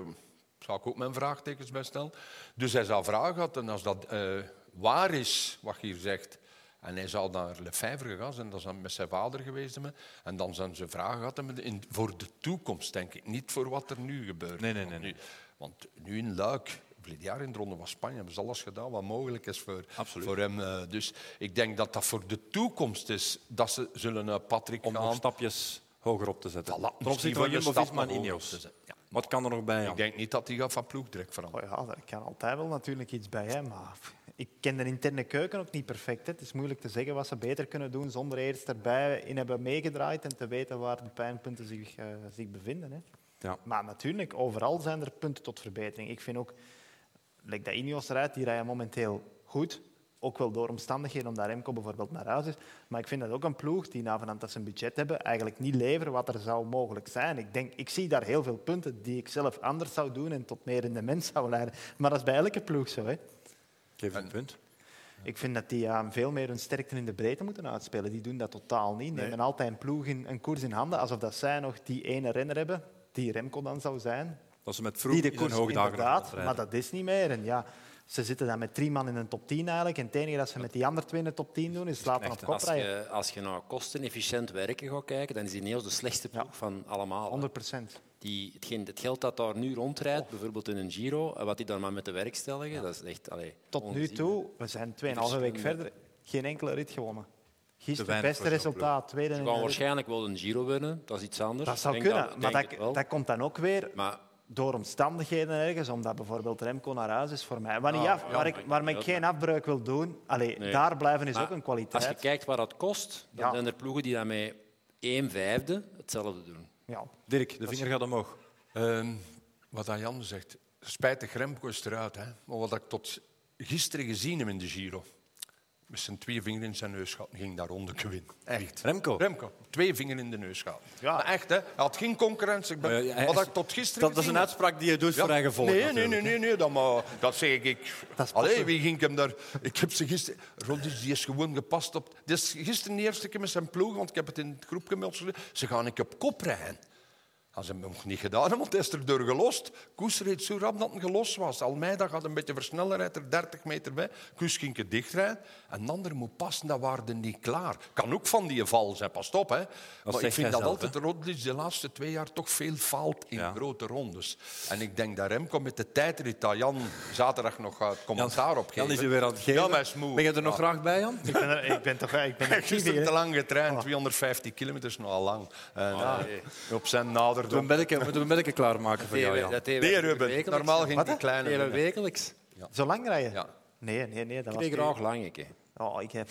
C: zou ik ook mijn vraagtekens bij stellen. Dus hij zou vragen gehad. En als dat eh, waar is, wat je hier zegt... En hij zou naar Lefebvre gegaan zijn, dat is dan met zijn vader geweest. hebben. En dan zijn ze vragen gehad hebben in, voor de toekomst, denk ik. Niet voor wat er nu gebeurt.
A: Nee, nee,
C: Want
A: nee,
C: nu- Want nu in Luik, vorig jaar in de Ronde van Spanje, hebben ze alles gedaan wat mogelijk is voor,
A: Absoluut.
C: voor hem. eh, Dus ik denk dat dat voor de toekomst is dat ze zullen naar Patrick
A: Om nog
C: gaan.
A: stapjes hoger op te zetten.
C: Voilà, dus
A: Ten
C: misschien
A: opzichte
C: wel
A: van
C: een stap
A: Jumbo-Visma en
C: nog hoger
A: Ineos.
C: te zetten. Ja.
A: Wat kan er nog bij?
C: Ik denk niet dat hij gaat van ploeg direct veranderen.
D: Oh ja, daar kan altijd wel natuurlijk iets bij, hè, maar pff, ik ken de interne keuken ook niet perfect. Hè. Het is moeilijk te zeggen wat ze beter kunnen doen zonder eerst erbij in hebben meegedraaid en te weten waar de pijnpunten zich, eh, zich bevinden. Hè.
A: Ja.
D: Maar natuurlijk, overal zijn er punten tot verbetering. Ik vind ook, like dat Ineos rijdt, die rijden momenteel goed. Ook wel door omstandigheden, omdat Remco bijvoorbeeld naar huis is. Maar ik vind dat ook een ploeg die, na vanaf dat ze een budget hebben, eigenlijk niet leveren wat er zou mogelijk zijn. Ik, denk, ik zie daar heel veel punten die ik zelf anders zou doen en tot meer in de mens zou leiden. Maar dat is bij elke ploeg zo. Hè.
A: Geef een punt.
D: Ik vind dat die ja, veel meer hun sterkte in de breedte moeten uitspelen. Die doen dat totaal niet. Nemen altijd een ploeg in, een koers in handen, alsof dat zij nog die ene renner hebben, die Remco dan zou zijn.
A: Dat ze met vroeg in
D: die
A: zijn
D: de koers
A: hoogdagen nog
D: inderdaad,
A: rondrijden.
D: maar dat is niet meer. En ja, ze zitten dan met drie man in een top 10 eigenlijk. En het enige dat ze met die andere twee in de top 10 doen, is laten op kop
E: Als
D: rijden.
E: je, als je naar kostenefficiënt werken gaat kijken, dan is Ineos de slechtste ploeg van allemaal.
D: 100 procent.
E: Die, hetgeen, het geld dat daar nu rondrijdt,
D: Oh.
E: bijvoorbeeld in een Giro, en wat die daar maar met de werkstelligen, dat is echt... Allee,
D: Tot nu
E: onzien.
D: toe, we zijn 2,5 week
E: verschillen.
D: verder, geen enkele rit gewonnen. Gisteren het
A: weinig
D: beste
A: voor zo'n
D: resultaat, tweede
E: Ze
D: in
E: gaan
D: de rit.
E: waarschijnlijk wel een Giro winnen, dat is iets anders.
D: Dat zou
E: Ik denk
D: kunnen,
E: ik
D: maar
E: denk
D: dat,
E: het wel.
D: dat komt dan ook weer
E: Maar
D: door omstandigheden ergens, omdat bijvoorbeeld Remco naar huis is voor mij. Wat
E: Ah,
D: niet af, waar ik, waarmee ik geen afbreuk wil doen, allee,
E: Nee.
D: daar blijven is
E: Maar
D: ook een
E: Als je
D: kwaliteit.
E: kijkt wat dat kost, dan
D: Ja.
E: zijn er ploegen die daarmee 1 vijfde hetzelfde doen.
D: Ja.
A: Dirk, de vinger gaat omhoog.
C: Ehm, wat dat Jan zegt, spijtig Remco is eruit. Hè? Maar wat ik tot gisteren gezien heb in de Giro, met zijn twee vingers in zijn neusgaten ging daar rondeke winnen. Echt.
A: Remco.
C: Remco, twee vingers in de neusgaten.
D: Ja.
C: Ja. echt, hè. Hij had geen concurrentie. Ik ben,
A: Maar Eh, ja, hij-
C: wat ik tot gisteren
A: dat, dat is
C: gezien
A: een
C: heb-
A: uitspraak die je doet
C: Ja.
A: voor eigen volk.
C: Nee, nee,
A: natuurlijk.
C: nee, nee, nee dat, maar, dat zeg ik.
D: Dat is
C: Allee,
D: passen.
C: wie ging ik hem daar... Ik heb ze gisteren... Rodis, die is gewoon gepast op... Dit is gisteren de eerste keer met zijn ploeg, want ik heb het in het groep gemeld. Ze gaan ik op kop rijden. Dat ze hem nog niet gedaan hebben, want hij is er door gelost. Koes reed zo rap dat hij gelost was. Almeida gaat een beetje versnellen, rijdt er 30 meter bij. Koes ging het dichtrijden. En de ander moet passen, dat waren niet klaar. Kan ook van die val zijn, pas op. Hè. Maar
A: zegt
C: ik vind
A: jij
C: dat
A: zelf,
C: altijd Rodlis de laatste twee jaar toch veel faalt in
A: Ja.
C: grote rondes. En ik denk dat Remco met de tijdrit dat Jan zaterdag nog gaat commentaar op
A: Jan is
C: geven.
A: er weer aan het geven.
C: Ja, maar hij is moe.
A: Ben je er nog
C: Ja.
A: graag bij, Jan?
D: Ik ben, er- ik ben toch ik ben actief
C: Gisteren
D: hier,
C: te
D: hè.
C: lang getraind, 250 kilometer is nogal lang. En, eh, op zijn nader
A: Moeten we een bedje- moeten we een bedje klaarmaken voor jou, Jan?
C: Nee, Ruben, normaal ging
D: Wat, hè?
C: die kleine.
E: Delen
C: winnen.
E: wekelijks.
D: Zo lang rijden?
C: Ja.
D: Nee, nee, nee. Dat
E: Ik ben
D: was
E: graag lang, ik. hè.
D: Oh, ik heb...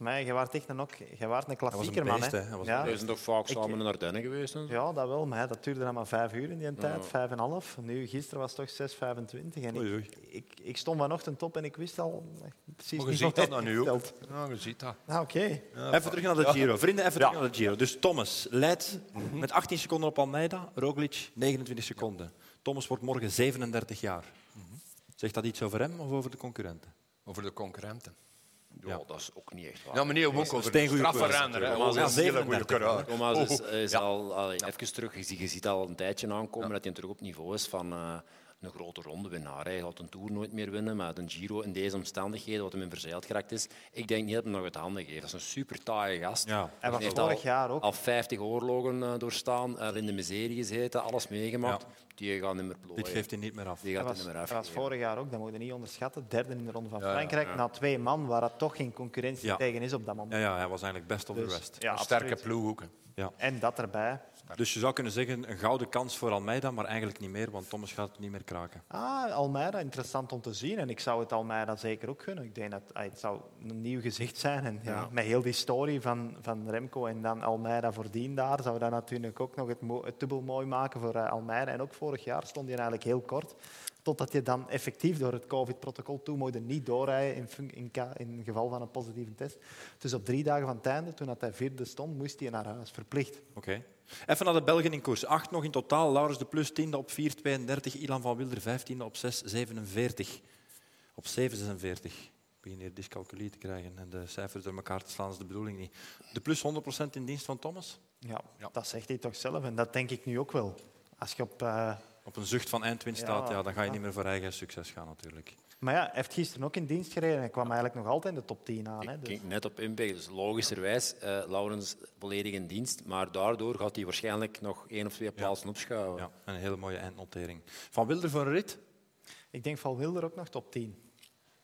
D: Maar je was echt een, ook, je waart een
A: was een
D: klassieker, man.
A: beest,
D: hè.
A: hè. Hij was een
D: Ja.
E: We zijn toch vaak
D: Ik-
E: samen naar Ardennen geweest? En zo.
D: ja, dat wel. Maar hè, dat duurde dan maar vijf uur in die tijd. Vijf en een half. Nu, gisteren was het toch 6,25. En
A: Oei,
D: ik,
A: oei.
D: ik, ik stond vanochtend op en ik wist al eh, precies
C: Maar je
D: niet
C: ziet
D: wat
C: dat
D: hij
C: dan nu ook.
D: vertelt.
C: Ja, Nou, je ziet dat.
D: Ah, Oké.
A: Even terug naar de Giro. Vrienden, even terug naar de Giro. Dus Thomas leidt met 18 seconden op Almeida, Roglic 29 seconden. Thomas wordt morgen 37 jaar. Zegt dat iets over hem of over de concurrenten?
C: Over de concurrenten.
E: Ja, dat is ook niet echt waar.
C: Ja, meneer ook over de
A: steengoeie
C: straffe
A: koers,
C: renner. hè.
A: natuurlijk.
C: Oh, dat is een hele goede
A: 37.
C: coureur.
E: Thomas is, is al, allee, even terug. Je, ziet- je ziet al een tijdje aankomen dat hij terug op niveau is van eh, een grote ronde winnaar. Hij gaat een Tour nooit meer winnen, maar een Giro in deze omstandigheden, wat hem in verzeild geraakt is, ik denk niet dat hij nog het handen geeft. Dat is een super taaie gast.
A: Ja.
D: Hij was
E: heeft
D: vorig
E: al,
D: jaar ook.
E: al 50 oorlogen eh, doorstaan, eh, in de miserie gezeten, alles meegemaakt. Die gaat niet meer plooien.
A: Dit geeft hij niet meer af.
E: Die gaat
D: Dat
E: hij niet
D: was,
E: meer
D: dat
E: af.
D: was vorig jaar ook, dat moet je niet onderschatten. Derde in de Ronde van Frankrijk, na twee man waar dat toch geen concurrentie
A: Ja.
D: tegen is op dat moment.
A: Ja, ja, hij was eigenlijk best of the rest.
D: Ja,
C: Een sterke
D: absoluut.
C: ploeg ook. hè.
D: En dat erbij.
A: Dus je zou kunnen zeggen, een gouden kans voor Almeida, maar eigenlijk niet meer, want Thomas gaat het niet meer kraken.
D: Ah, Almeida, interessant om te zien. En ik zou het Almeida zeker ook gunnen. Ik denk dat ah, het zou een nieuw gezicht zijn. En, ja, Met heel die story van, van Remco en dan Almeida voordien daar, zou dat natuurlijk ook nog het, mo- het dubbel mooi maken voor eh, Almeida. En ook vorig jaar stond hij eigenlijk heel kort. Totdat je dan effectief door het COVID-protocol toe mocht niet doorrijden in, fun- in, ka- in geval van een positieve test. Dus op drie dagen van het einde, toen dat hij vierde stond, moest hij naar huis, verplicht.
A: Oké. Even naar de Belgen in koers. Acht nog in totaal. Laurens de Plus, tiende op 4,32. Ilan van Wilder, vijftiende op 6,47. Op 7,46. Ik begin hier dyscalculie te krijgen en de cijfers door elkaar te slaan, is de bedoeling niet. De Plus 100% in dienst van Thomas?
D: Ja, dat zegt hij toch zelf. En dat denk ik nu ook wel. Als je op... eh,
A: Op een zucht van eindwinst
D: Ja,
A: staat, ja, dan ga je
D: ja.
A: niet meer voor eigen succes gaan natuurlijk.
D: Maar ja, hij heeft gisteren ook in dienst gereden en kwam eigenlijk nog altijd in de top 10 aan. Hè,
E: Ik
D: dus.
E: kijk net op Impact, dus logischerwijs eh Laurens volledig in dienst, maar daardoor gaat hij waarschijnlijk nog één of twee plaatsen opschuiven.
A: Ja, een hele mooie eindnotering. Van Wilder voor een rit
D: Ik denk Van Wilder ook nog top 10.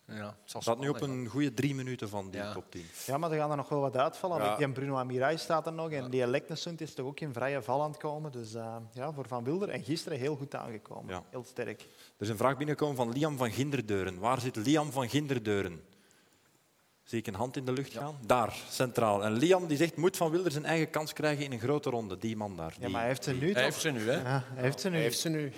C: Ja, het zal
A: staat nu op
C: spannend,
A: een goede drie minuten van die
C: Ja.
A: top 10.
D: Ja, maar er gaan er nog wel wat uitvallen.
E: Ja.
D: Die en Bruno Amirai staat er nog en die Leknesund is toch ook in vrije val aan het komen. Dus eh, ja, voor Van Wilder. En gisteren heel goed aangekomen.
A: Ja.
D: Heel sterk.
A: Er is een vraag binnengekomen van Liam van Ginderdeuren. Waar zit Liam van Ginderdeuren? Zie ik een hand in de lucht gaan? Daar, centraal. En Liam die zegt, moet Van Wilder zijn eigen kans krijgen in een grote ronde? Die man daar.
D: Ja,
A: die-
D: maar hij heeft ze nu
C: hè.
D: toch?
C: Hij heeft ze nu, hè.
D: Ja, hij heeft ze nu.
E: ze nu.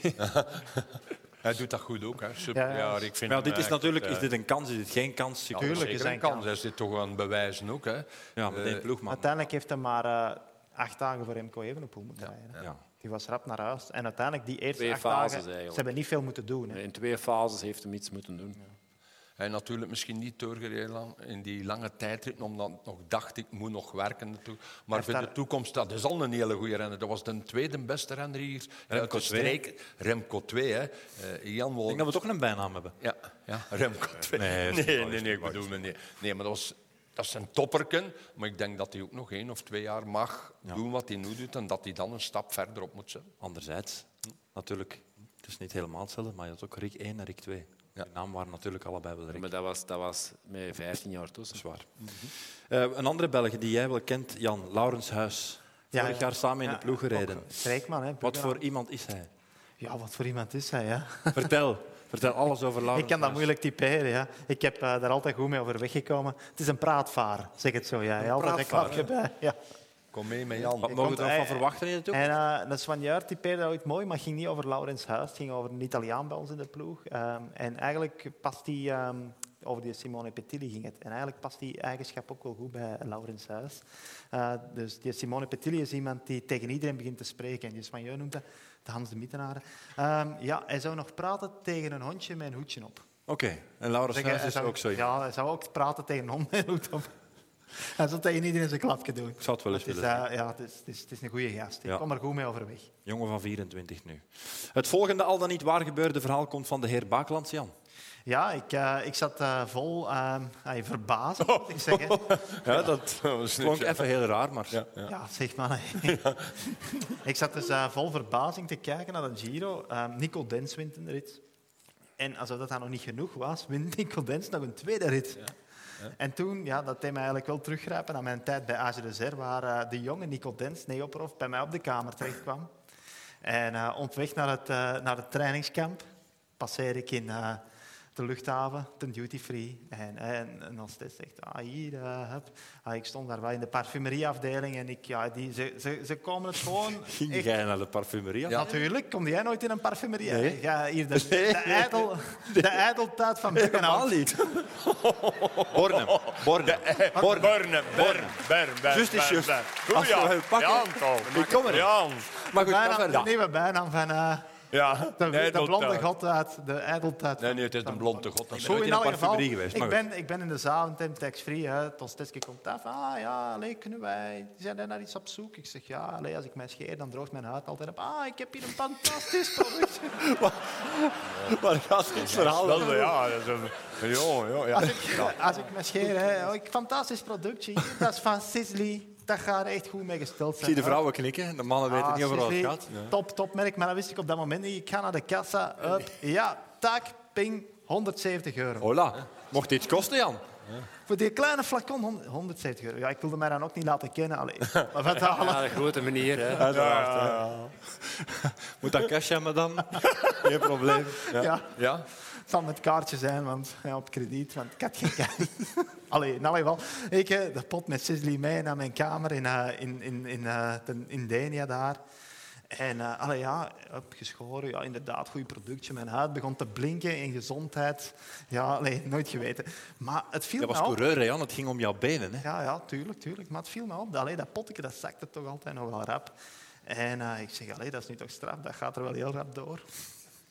C: Hij doet dat goed ook. Hè. Super,
D: Ja,
C: ja,
D: ja.
C: ik vind
A: Maar ja,
C: hem
A: dit is
C: echt,
A: natuurlijk,
C: eh,
A: is dit een kans, is dit geen kans?
C: ja,
A: Ja,
D: Tuurlijk
C: zeker
D: is hij
C: een
D: een
C: kans.
D: kans.
C: Hij zit toch aan het bewijzen ook. Hè.
A: meteen ploegman.
D: Uiteindelijk heeft hij maar eh, acht dagen voor Remco Evenepoel moeten rijden. hè.
A: Ja.
D: Die was rap naar huis. En uiteindelijk die eerste
E: Twee
D: acht
E: fases
D: dagen...
E: eigenlijk.
D: Ze hebben niet veel moeten doen. Hè.
E: Eh, In twee fases heeft hem iets moeten doen.
C: Hij natuurlijk misschien niet doorgereden lang- in die lange tijdrit, omdat ik nog dacht, ik moet nog werken. natuurlijk. Maar
D: Hij
C: voor
D: heeft
C: de
D: daar-
C: toekomst, dat is al een hele goede renner. Dat was de tweede beste renner hier uit
A: twee.
C: de streek. Remco 2, hè. Eh, Jan
A: Ik denk dat we toch een bijnaam hebben.
C: Ja, ja, Remco 2. Nee, nee, nee, ik bedoel me niet. Nee, maar dat, was, dat is een topperken. Maar ik denk dat hij ook nog één of twee jaar mag doen wat hij nu doet. En dat hij dan een stap verder op moet zetten.
A: Anderzijds, natuurlijk, het is niet helemaal hetzelfde, maar je had ook Rick 1 en Rick 2.
C: Ja.
A: Die naam waren natuurlijk allebei wel Rick.
E: Maar dat was, dat was met 15 jaar tussen.
A: Zwaar. Eh, een andere Belge die jij wel kent, Jan, Laurens Huis.
D: Ja,
A: Vorig
D: ja.
A: jaar samen in
D: Ja,
A: de ploeg gereden.
D: ook Streekman, hè.
A: Wat voor iemand is hij?
D: Ja, wat voor iemand is hij, ja.
A: Vertel, vertel alles over Laurens.
D: Ik kan dat
A: Huis.
D: moeilijk typeren, ja. Ik heb eh, daar altijd goed mee over weggekomen. Het is een praatvaar, zeg het zo. Ja. Hij altijd een klapje bij. Ja.
C: Kom mee met Jan.
A: Wat mogen we
D: Komt-
A: er van
D: hij-
A: verwachten in de toekomst?
D: En eh de soigneur typeerde dat ooit mooi, maar het ging niet over Laurens Huis. Het ging over een Italiaan bij ons in de ploeg. Ehm, en eigenlijk past die ehm, over die Simone Petilli ging het. En eigenlijk past die eigenschap ook wel goed bij Laurens Huis. Eh, dus die Simone Petilli is iemand die tegen iedereen begint te spreken. En die is van jou noemt dat, de Hans de Mittenaren. Ehm, ja, hij zou nog praten tegen een hondje met een hoedje op.
A: Oké, en Laura
D: Zeg, hij
A: Snuis is
D: zou-
A: ook zo iemand.
D: eh, Ja, hij zou ook praten tegen een hond met een hoed op. Hij zou tegen iedereen zijn klapje doen.
A: Ik zou het wel eens
D: Het is,
A: willen
D: eh, ja, het is, het is, het is een goede gast. Ik
A: Ja.
D: kom er goed mee overweg.
A: Jongen van 24 nu. Het volgende al dan niet waar gebeurde verhaal komt van de heer Baaklands, Jan.
D: Ja, ik, eh, ik zat eh, vol ehm ay, verbazing,
A: Oh.
D: moet ik zeggen.
A: Ja, dat klonk even heel raar, maar...
D: Ja, zeg maar. ik zat dus eh, vol verbazing te kijken naar de Giro. Ehm, Nico Dens wint een rit. En alsof dat dan nog niet genoeg was, wint Nico Dens nog een tweede rit. En toen, ja, dat deed mij eigenlijk wel teruggrijpen aan mijn tijd bij Age de Zer, waar eh, de jonge Nico Dens, Neoprof, bij mij op de kamer terecht kwam. En eh op weg naar het, eh, naar het trainingskamp passeer ik in eh, de luchthaven, ten duty free. En, en, en als dit zegt, ah, hier, eh, hup. Ah, ik stond daar wel in de parfumerieafdeling en ik, ja, die, ze, ze, ze komen het gewoon...
A: Ging
D: echt-
A: jij naar de parfumerie? Jan?
D: Natuurlijk, kom jij nooit in een parfumerie?
A: Nee.
D: Ja, hier de, de, ijdel, de ijdeltuit van Beckenhout.
A: niet. Bornem. Bornem.
H: Born, Born, Born, Born,
A: Juist is juist. Als we hem
H: Goeie,
A: pakken-
H: ja, Anton.
A: Ik kom er.
H: Ja,
A: Maar goed, ga
D: Bijnaam,
A: verder.
D: de nieuwe bijnaam van eh,
H: ja.
D: de,
H: Nee,
D: de
H: dat,
D: blonde
H: eh,
D: god uit de ijdeltuit.
C: Nee, nee, het is een blonde god. Dat is-
D: Zo
A: nooit
D: in
A: in een
D: elk geval,
A: parfumerie geweest,
D: ik,
A: maar
D: ben, ik ben in de zaal en Tim tax-free. hè. Tosteski komt af. Ah ja, allee, kunnen wij... Zijn daar naar iets op zoek? Ik zeg ja, allee, als ik mij scheer, dan droogt mijn huid altijd op. Ah, ik heb hier een fantastisch product.
A: Maar gaat dit verhaal
H: dat, ja, dat is een... Ja, ja, ja.
D: Als ik, als ik me scheer, hè, oh, ik, fantastisch productje. hier, Dat is van Sisley. Dat gaat er echt goed mee gesteld zijn.
A: Ik zie de
D: hè.
A: vrouwen knikken, de mannen weten
D: Ah,
A: niet over wat het
D: Sisley,
A: gaat.
D: Top, topmerk. Maar dat wist ik op dat moment niet. Ik ga naar de kassa. Hup, ja, tak, ping, 170 euro.
A: Hola, mocht dit kosten, Jan?
D: Voor die kleine flacon, hond- 170 euro. Ja, ik wilde mij dan ook niet laten kennen. Allee. Maar wat dan
E: Ja, de grote meneer. Hè.
A: Moet dat cash hebben dan? Geen probleem.
D: Ja. Het zal met kaartje zijn, want ja, op krediet, want ik had geen kaart. Allee, in elk geval. Ik eh, de pot met Sisley mee naar mijn kamer in, eh, in, in, in, eh, ten- in Denia daar. En eh, allee, ja, opgeschoren, ja, inderdaad, goed productje. Mijn huid begon te blinken in gezondheid. Ja, allee, nooit geweten. Maar het viel
A: Dat was
D: me op.
A: coureur, hè, Jan. Het ging om jouw benen. Hè.
D: Ja, ja, tuurlijk, tuurlijk. Maar het viel me op. Allee, dat potje dat zakte toch altijd nog wel rap. En eh, ik zeg, allee, dat is nu toch straf, dat gaat er wel heel rap door.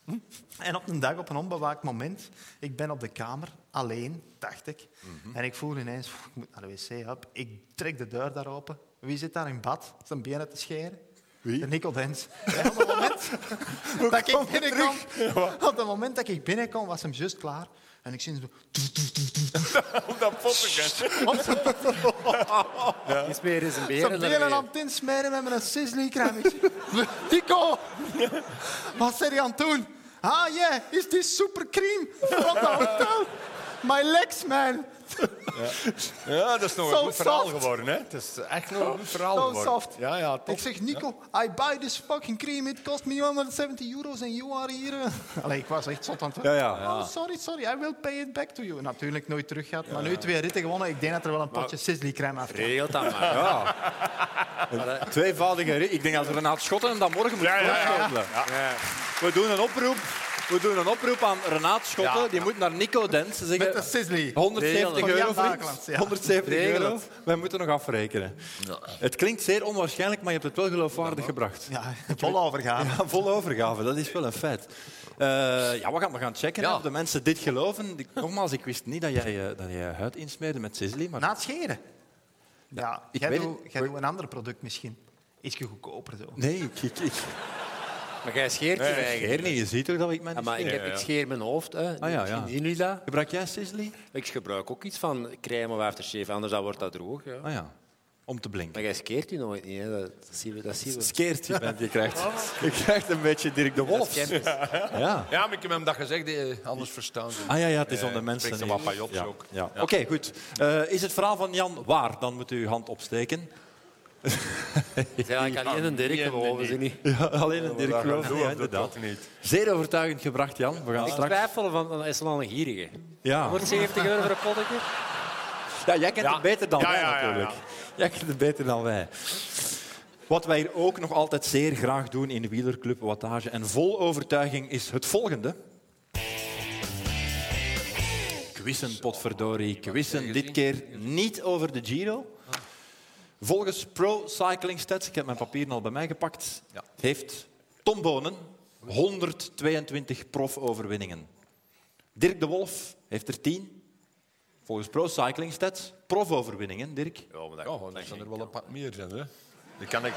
D: Hm? En op een dag, op een onbewaakt moment, ik ben op de kamer, alleen, dacht ik. En ik voel ineens, "Pff, ik moet naar de wc, hop. Ik trek de deur daar open. Wie zit daar in bad, zijn benen te scheren? De Nico Dens. En op het moment dat ik binnenkwam, op het moment dat ik binnenkwam, was hem juist klaar. En ik zie hem zo...
H: Op dat potje.
E: Die speer is een
D: Zo'n
E: beren.
D: hele aan het insmeren met mijn Sisley-krammetje. Nico! Wat zijn je aan het doen? Ah, yeah, is die supercream van dat hotel? My legs, man.
H: Ja, dat is nog
D: Zo
H: een goed verhaal
D: soft.
H: geworden. Hè. Het is echt nog een goed verhaal
D: Zo
H: geworden.
D: soft.
H: Ja, ja, top.
D: Ik zeg, Nico, I buy this fucking cream. It cost me 170 euro's and you are here. eh." Allee, ik was echt zot aan het
A: Ja, ja.
D: Oh, sorry, sorry. I will pay it back to you. Natuurlijk nooit terug gehad, maar nu twee ritten gewonnen. Ik denk dat er wel een potje Sisley-crème af
E: Regelt dat maar.
A: Tweevoudige ri- Ik denk dat Renaat Schotten dat morgen moet voorschotelen. We doen een oproep. We doen een oproep aan Renaat Schotten. Die moet naar Nico Dens
D: Met de
A: zeggen...
D: Sisley.
A: 170
D: Van Jan
A: euro, vriend.
D: Bakelands, ja.
A: 170 euro. Wij moeten nog afrekenen. Het klinkt zeer onwaarschijnlijk, maar je hebt het wel geloofwaardig gebracht.
D: Ja, vol overgaan.
A: Ja, vol overgave, dat is wel een feit. Eh, ja, we gaan, we gaan checken hè, of de mensen dit geloven. Ik- Nogmaals, ik wist niet dat jij, eh, dat jij huid insmeerde met Sisley, maar
D: Na het scheren? Ja,
A: ik
D: jij,
A: weet
D: doet,
A: het.
D: jij doet een ander product misschien. Ietsje goedkoper zo.
A: nee, ik, ik, ik
E: Maar jij scheert je eigen.
A: scheer niet. Je ziet toch dat ik mijn
E: Ja, maar ik,
A: eh,
E: heb, ik scheer mijn hoofd. Hè.
A: Ah, ja, ja.
E: Zien jullie dat?
A: Gebruik jij Sisley?
E: Ik gebruik ook iets van crème of aftershave, anders dan wordt dat droog. Ja.
A: Ah ja, om te blinken.
E: Maar jij skeert je nooit niet, hè? Dat, dat zien we. Dat zien we.
A: Skeert je bent, je krijgt, je krijgt een beetje Dirk de Wolf. Ja.
C: Ja, maar ik heb hem dat gezegd, eh, anders verstaan ze.
A: Ah ja, ja, het is om de
C: Eh,
A: mensen...
C: spreekt de
A: hier.
C: Wapayots
A: ja.
C: ook.
A: Ja. Oké, goed. Eh, is het verhaal van Jan waar? Dan moet u uw hand opsteken.
E: Ja, ik kan niet in een direct geloven, ze niet.
A: Ja, alleen een Dirk geloof ik, ja, inderdaad. Zeer overtuigend gebracht, Jan. We gaan
E: Ik
A: straks...
E: twijfel van, dat is wel een gierige.
A: Ja.
E: Wordt 70 euro voor een pottetje?
A: Ja, jij kent het beter dan
H: Ja,
A: wij
H: ja, ja, ja.
A: natuurlijk. Jij kent het beter dan wij. Wat wij hier ook nog altijd zeer graag doen in de wielerclub Wattage en vol overtuiging is het volgende. quizzen, potverdorie, quizzen. Dit keer niet over de Giro. Volgens Pro Cycling Stats, ik heb mijn papieren al bij mij gepakt,
C: Ja.
A: heeft Tom Bonen 122 profoverwinningen. Dirk de Wolf heeft er 10. Volgens Pro Cycling Stats, profoverwinningen, Dirk.
C: Ja, dat zijn er wel een paar meer zijn, hè. Die kan ik...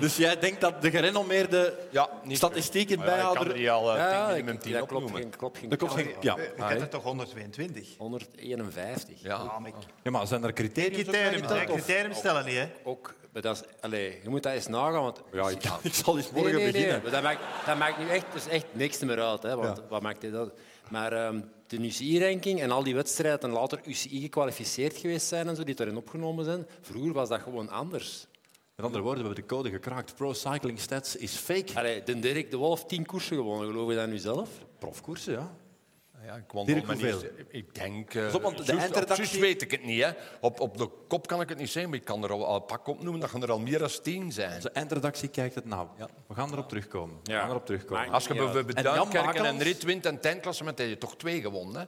A: Dus jij denkt dat de gerenommeerde
C: Ja, niet
A: statistieken
C: Maar ja, ik kan
A: bijhouder...
C: er niet al
A: Ja,
C: ja,
A: ik-
C: minimum 10
E: Dat klopt,
C: opnoemen.
E: geen, klopt geen
A: dat klopt
E: kans.
A: geen... Ja. Ah,
D: Ik had er toch 122?
E: 151.
C: Ja.
D: Ah, maar ik-
A: ja, maar zijn er criteria?
D: Criterium, hè, criterium stellen niet, hè?
E: Ook, maar dat is, allee, je moet dat eens nagaan, want... Ja, ik
A: Ik zal eens morgen beginnen.
E: maar dat, maakt, dat maakt nu echt, dus echt niks meer uit. Hè, want wat maakt dit uit? Maar ehm, de UCI-ranking en al die wedstrijden en later UCI gekwalificeerd geweest zijn en zo, die daarin opgenomen zijn, vroeger was dat gewoon anders.
A: Met andere woorden, we hebben de code gekraakt. Pro Cycling Stats is fake.
E: Allee, de Dirk de Wolf, tien koersen gewonnen, geloof je dat nu zelf?
A: Profkoersen, ja.
C: Ja, ik wandel
A: Dirk,
C: maar niet.
A: hoeveel?
C: Ik denk... eh
A: Pas op, want de
C: juist- op
A: eindredactie-
C: juist weet ik het niet, hè. Op, op de kop kan ik het niet zeggen, maar ik kan er al, al pak op noemen. Dat gaan er al meer dan 10 zijn.
A: Onze eindredactie kijkt het nou. We gaan erop terugkomen. We gaan erop terugkomen.
C: Als je bijvoorbeeld
A: En Jan
C: Duinkerken en
A: Bakelans?
C: Rit wint en tijdklassement, heb je toch twee gewonnen, hè?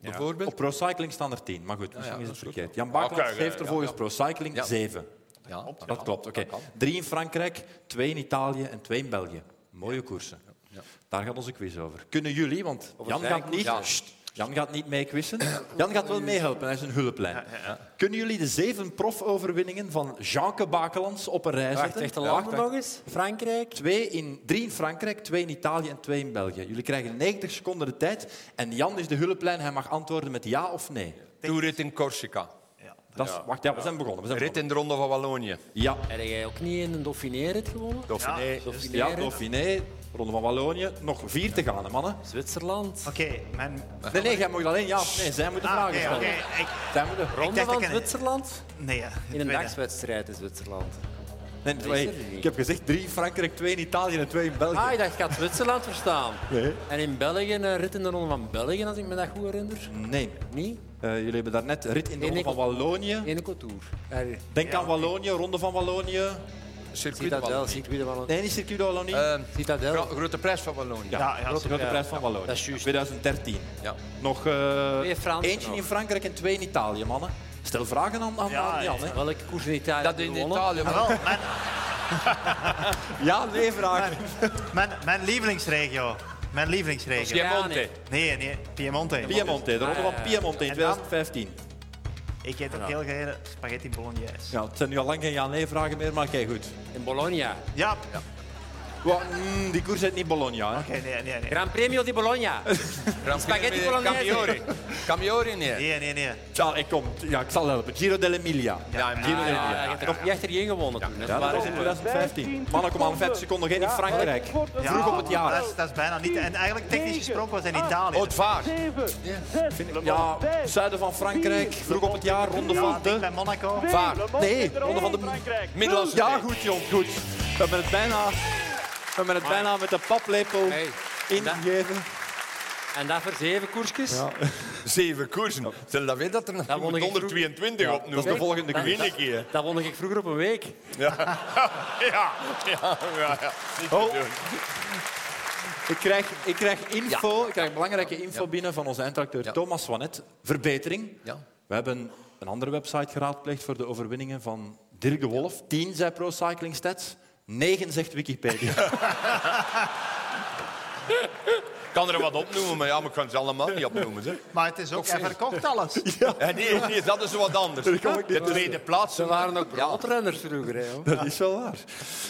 C: Bijvoorbeeld.
A: Op Pro Cycling staan er tien, maar goed, misschien
C: ja,
A: is het
C: dat is goed.
A: verkeerd. Jan Bakelans
C: Oké, ja,
A: heeft er
C: ja,
A: volgens Pro Cycling
C: Ja.
A: zeven.
C: Ja,
A: Dat klopt, oké. Drie in Frankrijk, twee in Italië en twee in België. Mooie koersen. Daar gaat onze quiz over. Kunnen jullie, want Jan gaat niet...
C: Ja.
A: Sst, Jan gaat niet mee quizzen. Jan gaat wel meehelpen, hij is een hulplijn. Kunnen jullie de zeven profoverwinningen van Jeanke Bakelans op een rij zetten?
E: echt de laag nog eens? Frankrijk?
A: Twee in, drie in Frankrijk, twee in Italië en twee in België. Jullie krijgen 90 seconden de tijd. En Jan is de hulplijn. Hij mag antwoorden met ja of nee.
C: Toerit in Corsica.
A: Dat is, wacht, ja, we zijn begonnen. We zijn
C: Rit in de Ronde van Wallonië.
A: begonnen. Ja,
E: Heb jij ook niet in een Dauphiné-rit gewonnen?
C: Dauphiné.
E: Dauphiné
A: ja Dauphiné, Ronde van Wallonië. Nog vier te gaan, hè, mannen.
E: Zwitserland.
D: Oké, mijn...
A: Nee, nee, jij mag alleen ja of nee. Zij moeten
D: Ah,
A: vragen
D: nee,
A: stellen.
D: oké. ik-
A: Zij moeten...
D: Ik
E: Ronde
D: dacht
E: van
D: dat ik-
E: Zwitserland?
D: Nee, ja, het
E: In een
D: tweede.
E: dagswedstrijd in Zwitserland.
A: Nee, twee.
E: er niet.
A: Ik heb gezegd drie in Frankrijk, twee in Italië en twee in België.
E: Ah, ik dacht, ik had Zwitserland verstaan. En in België, een rit in de Ronde van België, als ik me dat goed herinner.
A: Nee.
E: Niet?
A: Eh, jullie hebben daarnet rit in de
E: Nee,
A: Ronde van
E: nee,
A: Wallonië.
E: Ene couture. Er,
A: Denk aan Wallonië, Ronde van Wallonië.
C: Circuit van
E: Citadel,
C: Wallonië.
E: zie ik weer wel.
A: Nee, niet Circuit de Wallonië.
E: Eh,
C: Ehm,
E: Citadel.
C: Gro- grote prijs van Wallonië.
D: Ja, ja,
A: grote, grote prijs van Wallonië.
E: dat is juist.
A: 2013.
C: Ja.
A: Nog eh,
E: Twee Fransen
A: eentje
E: nog.
A: in Frankrijk en twee in Italië, mannen. Stel vragen aan, aan,
D: Ja,
A: aan Jan.
D: ja.
A: Hè.
E: Welke koers in Italië
C: Dat in
E: gewonnen?
C: Italië.
D: Ah,
C: maar-
D: wel, mijn,
A: Ja, nee, vragen.
D: mijn, mijn lievelingsregio. Mijn lievelingsregio.
C: Piemonte.
D: Nee, nee, Piemonte.
A: Piemonte,
E: Ah,
A: de ronde van Piemonte in
D: En dan?
A: 2015.
D: Ik eet ook heel graag spaghetti bolognese.
A: Ja, het zijn nu al lang geen ja-nee-vragen meer, maar kijk goed.
E: In Bologna.
D: Ja,
A: Wa- mm, die koers heet niet Bologna. Hè.
D: oké, nee, nee, nee.
E: Gran Premio di Bologna.
C: Grand Prix
E: Spaghetti
C: met
E: Bolognese.
C: Campiori. Campiori, nee.
D: Nee, nee, nee.
A: Ja, ik, kom, ja, ik zal helpen. Giro dell'Emilia.
C: Ja,
E: Ah, ja, ja, je hebt er- je hebt er geen gewonnen toen. hè.
A: Ja, dat
E: Maar-
A: was in 2015. Mannen, kom aan, 50 seconden, geen in Frankrijk.
D: Ja,
A: Vroeg op het jaar. Ah.
D: Dat is, dat is bijna niet. En eigenlijk technisch gesproken was het in Italië.
C: Oh, het vaart.
A: Ja, zuiden van Frankrijk, vroeg op het jaar, ronde
D: ja,
A: van
D: ik denk
A: de...
D: bij Monaco.
A: Vaart. Nee, ronde van de...
C: Middellandse
A: Ja,
C: Zee.
A: goed, Jon, goed. We hebben het bijna, we hebben het bijna met de paplepel
E: Hey,
A: ingegeven.
E: En dat voor zeven koersjes?
C: Zeven koersen. Stel dat weet dat er nog
E: Dat won ik
C: 122 op nu.
A: dat is de volgende
C: Dan
A: koers.
C: win ik hier.
E: Dat won ik vroeger op een week.
C: Ja, ja, ja. ja.
A: Oh. Ik krijg, ik krijg info, ik krijg belangrijke info binnen van onze eindredacteur
C: Ja.
A: Thomas Swanet. Verbetering.
C: Ja.
A: We hebben een andere website geraadpleegd voor de overwinningen van Dirk de Wolf. 10 zei Pro Cycling Stats, 9 zegt Wikipedia.
C: Ik kan er wat opnoemen, maar, ja, maar ik kan ze allemaal niet opnoemen. Hè.
D: Maar het is ook, hij verkocht alles.
C: En nee, nee, dat is wat anders. De tweede plaats.
E: Ze waren ook blauwtrenners vroeger. Hè, joh.
A: Dat is wel waar.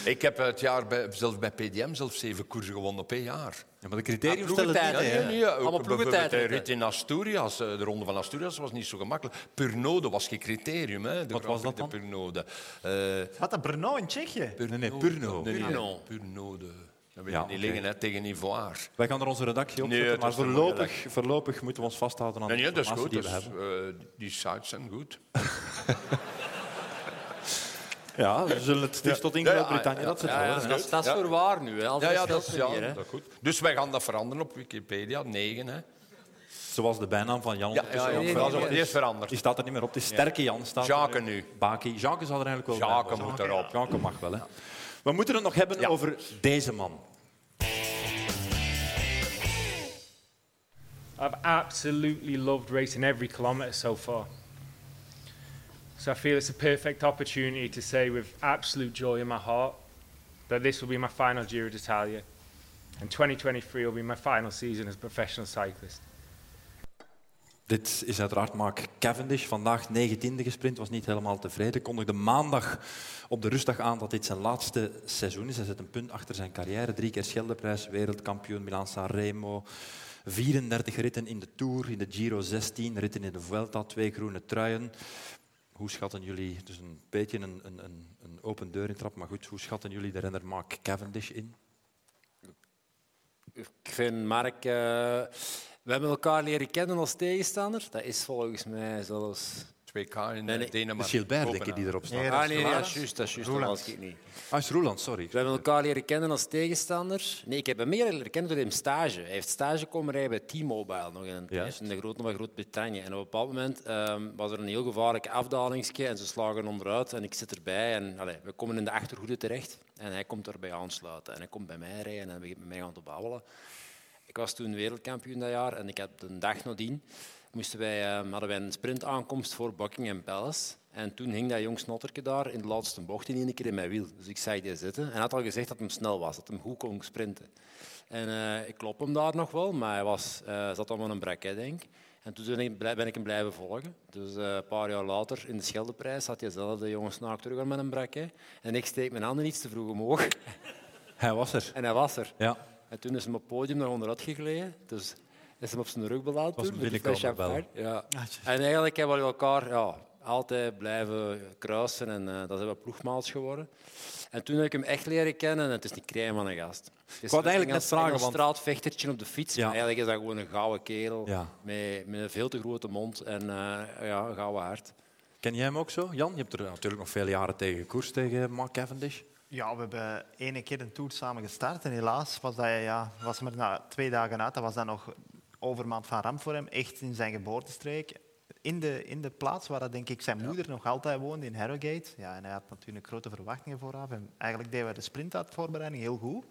C: Ik heb het jaar bij, zelf bij PDM zelf zeven koersen gewonnen op één jaar.
A: Ja, maar de
C: Ah,
A: criteria stellen
E: ploegentijd,
A: het niet,
E: hè.
A: hè.
C: Nee, nee, ook
E: Allemaal
C: bijvoorbeeld de
E: ploegentijdritten.
C: rit in Asturias, eh, de ronde van Asturias was niet zo gemakkelijk. Purnode was geen criterium. Hè, de
A: Wat was dat
C: de
A: dan?
C: Purnode. Eh,
D: Wat een Brno in Tsjechië.
A: Nee, nee, Purno.
C: nee,
E: Purno.
C: Purnode. Dat weet
A: Ja,
C: je niet
A: oké.
C: liggen hè, tegen Ivoire.
A: Wij gaan er onze redactie op
C: Nee,
A: zetten,
C: het
A: maar
C: was een
A: voorlopig, voorlopig moeten we ons vasthouden aan de
C: Nee, nee, dat is
A: informatie
C: goed.
A: die we
C: dat is,
A: hebben.
C: eh, die sites zijn goed.
A: Ja, we zullen het liefst tot in
C: Ja, ja,
A: Groot-Brittannië.
C: ja,
A: Dat zit
E: Ja, ja,
A: wel.
E: dat, is- dat is
C: Ja.
E: voor waar nu. Hè. Al
C: Ja,
E: dat
C: ja,
E: geldt
C: dat is
E: niet
C: ja,
E: meer, hè.
C: dat is goed. Dus wij gaan dat veranderen op Wikipedia, 9. Hè.
A: Zoals de bijnaam van Jan.
C: Ja,
A: ondertussen
C: ja,
A: ook
C: ja,
E: nee,
A: wel
E: nee,
C: dat
A: zo
C: is
E: nee.
A: is.
C: eerst veranderd.
A: Die staat er niet meer op. Het is sterke Jan. Staat er
C: Jacques nu.
A: Baki. Jacques zou er eigenlijk wel
C: Jacques
A: bij
C: moet
A: horen.
C: erop.
A: Jacques mag wel, hè. We moeten het nog hebben over deze man.
I: I've absolutely loved racing every kilometre so far. So I feel it's a perfect opportunity to say with absolute joy in my heart that this will be my final Giro d'Italia and 2023 will be my final season as a professional cyclist.
A: Dit is uiteraard Mark Cavendish. Vandaag 19e gesprint, was niet helemaal tevreden. Kondigde maandag op de rustdag aan dat dit zijn laatste seizoen is. Hij zet een punt achter zijn carrière. Drie keer Scheldeprijs, wereldkampioen Milan-San Remo. 34 ritten in de Tour, in de Giro 16, ritten in de Vuelta, twee groene truien. Hoe schatten jullie, dus een beetje een, een, een- een open deur intrap, maar goed, hoe schatten jullie de renner Mark Cavendish in?
E: Ik vind Mark. eh, we hebben elkaar leren kennen als tegenstander. Dat is volgens mij zelfs.
C: 2K in
E: Nee, nee.
C: eh, Denemarken.
A: Gilbert, denk ik, die
C: Kopenhagen.
A: erop staat.
E: ah, nee, nee, dat is juist. Dat is juist. Dat was ik niet.
A: Ah, is Roeland, sorry.
E: We hebben elkaar leren kennen als tegenstander. Nee, ik heb hem meer leren kennen door hem stage. Hij heeft stage komen rijden bij T-Mobile, nog in, een-
A: Juist.
E: in de grote van Groot-Brittannië. En op een bepaald moment ehm, was er een heel gevaarlijke afdalingske en ze slagen onderuit en ik zit erbij. En allee, we komen in de achterhoede terecht en hij komt erbij aansluiten. En hij komt bij mij rijden en begint met mij gaan te babbelen. Ik was toen wereldkampioen dat jaar en ik had de dag nadien moesten wij, eh, hadden wij een sprintaankomst voor Buckingham Palace. En toen hing dat jong snotterke daar in de laatste bocht in één keer in mijn wiel. Dus ik zag die zitten en had al gezegd dat hem snel was, dat hem goed kon sprinten. En eh, ik klop hem daar nog wel, maar hij was, eh, zat allemaal een brek, hè, denk ik. En toen ben ik, blij- ben ik hem blijven volgen. Dus eh, een paar jaar later, in de Scheldeprijs, had diezelfde jonge snaak terug aan met een brek. hè. En ik steek mijn handen iets te vroeg omhoog
A: Hij was er.
E: en hij was er.
A: Ja.
E: En toen is hem op het podium naar onderuit gegleden. Dus is hem op zijn rug belaten.
A: was
E: toen,
A: een
E: met die fles
A: binnenkomen
E: champagne. Ja. En eigenlijk hebben we elkaar ja, altijd blijven kruisen. En eh, dat zijn we ploegmaats geworden. En toen heb ik hem echt leren kennen. En het is niet krij van een gast. Het is
A: wou het eigenlijk
E: een
A: net vragen,
E: Engels
A: want-
E: straatvechtertje op de fiets.
A: Ja.
E: Maar eigenlijk is dat gewoon een gouden kerel.
A: Ja.
E: Met, met een veel te grote mond en eh, ja, een gouden hart.
A: Ken jij hem ook zo, Jan? Je hebt er natuurlijk nog vele jaren tegen gekoerst, tegen Mark Cavendish.
J: Ja, we hebben ene keer een tour samen gestart. En helaas was dat ja, was maar na twee dagen uit. Dat was dan nog overmaand van ramp voor hem. Echt in zijn geboortestreek. In de, in de plaats waar dat, denk ik zijn moeder nog altijd woonde, in Harrogate. Ja, en hij had natuurlijk grote verwachtingen vooraf. En eigenlijk deden we de sprint uit voorbereiding heel goed.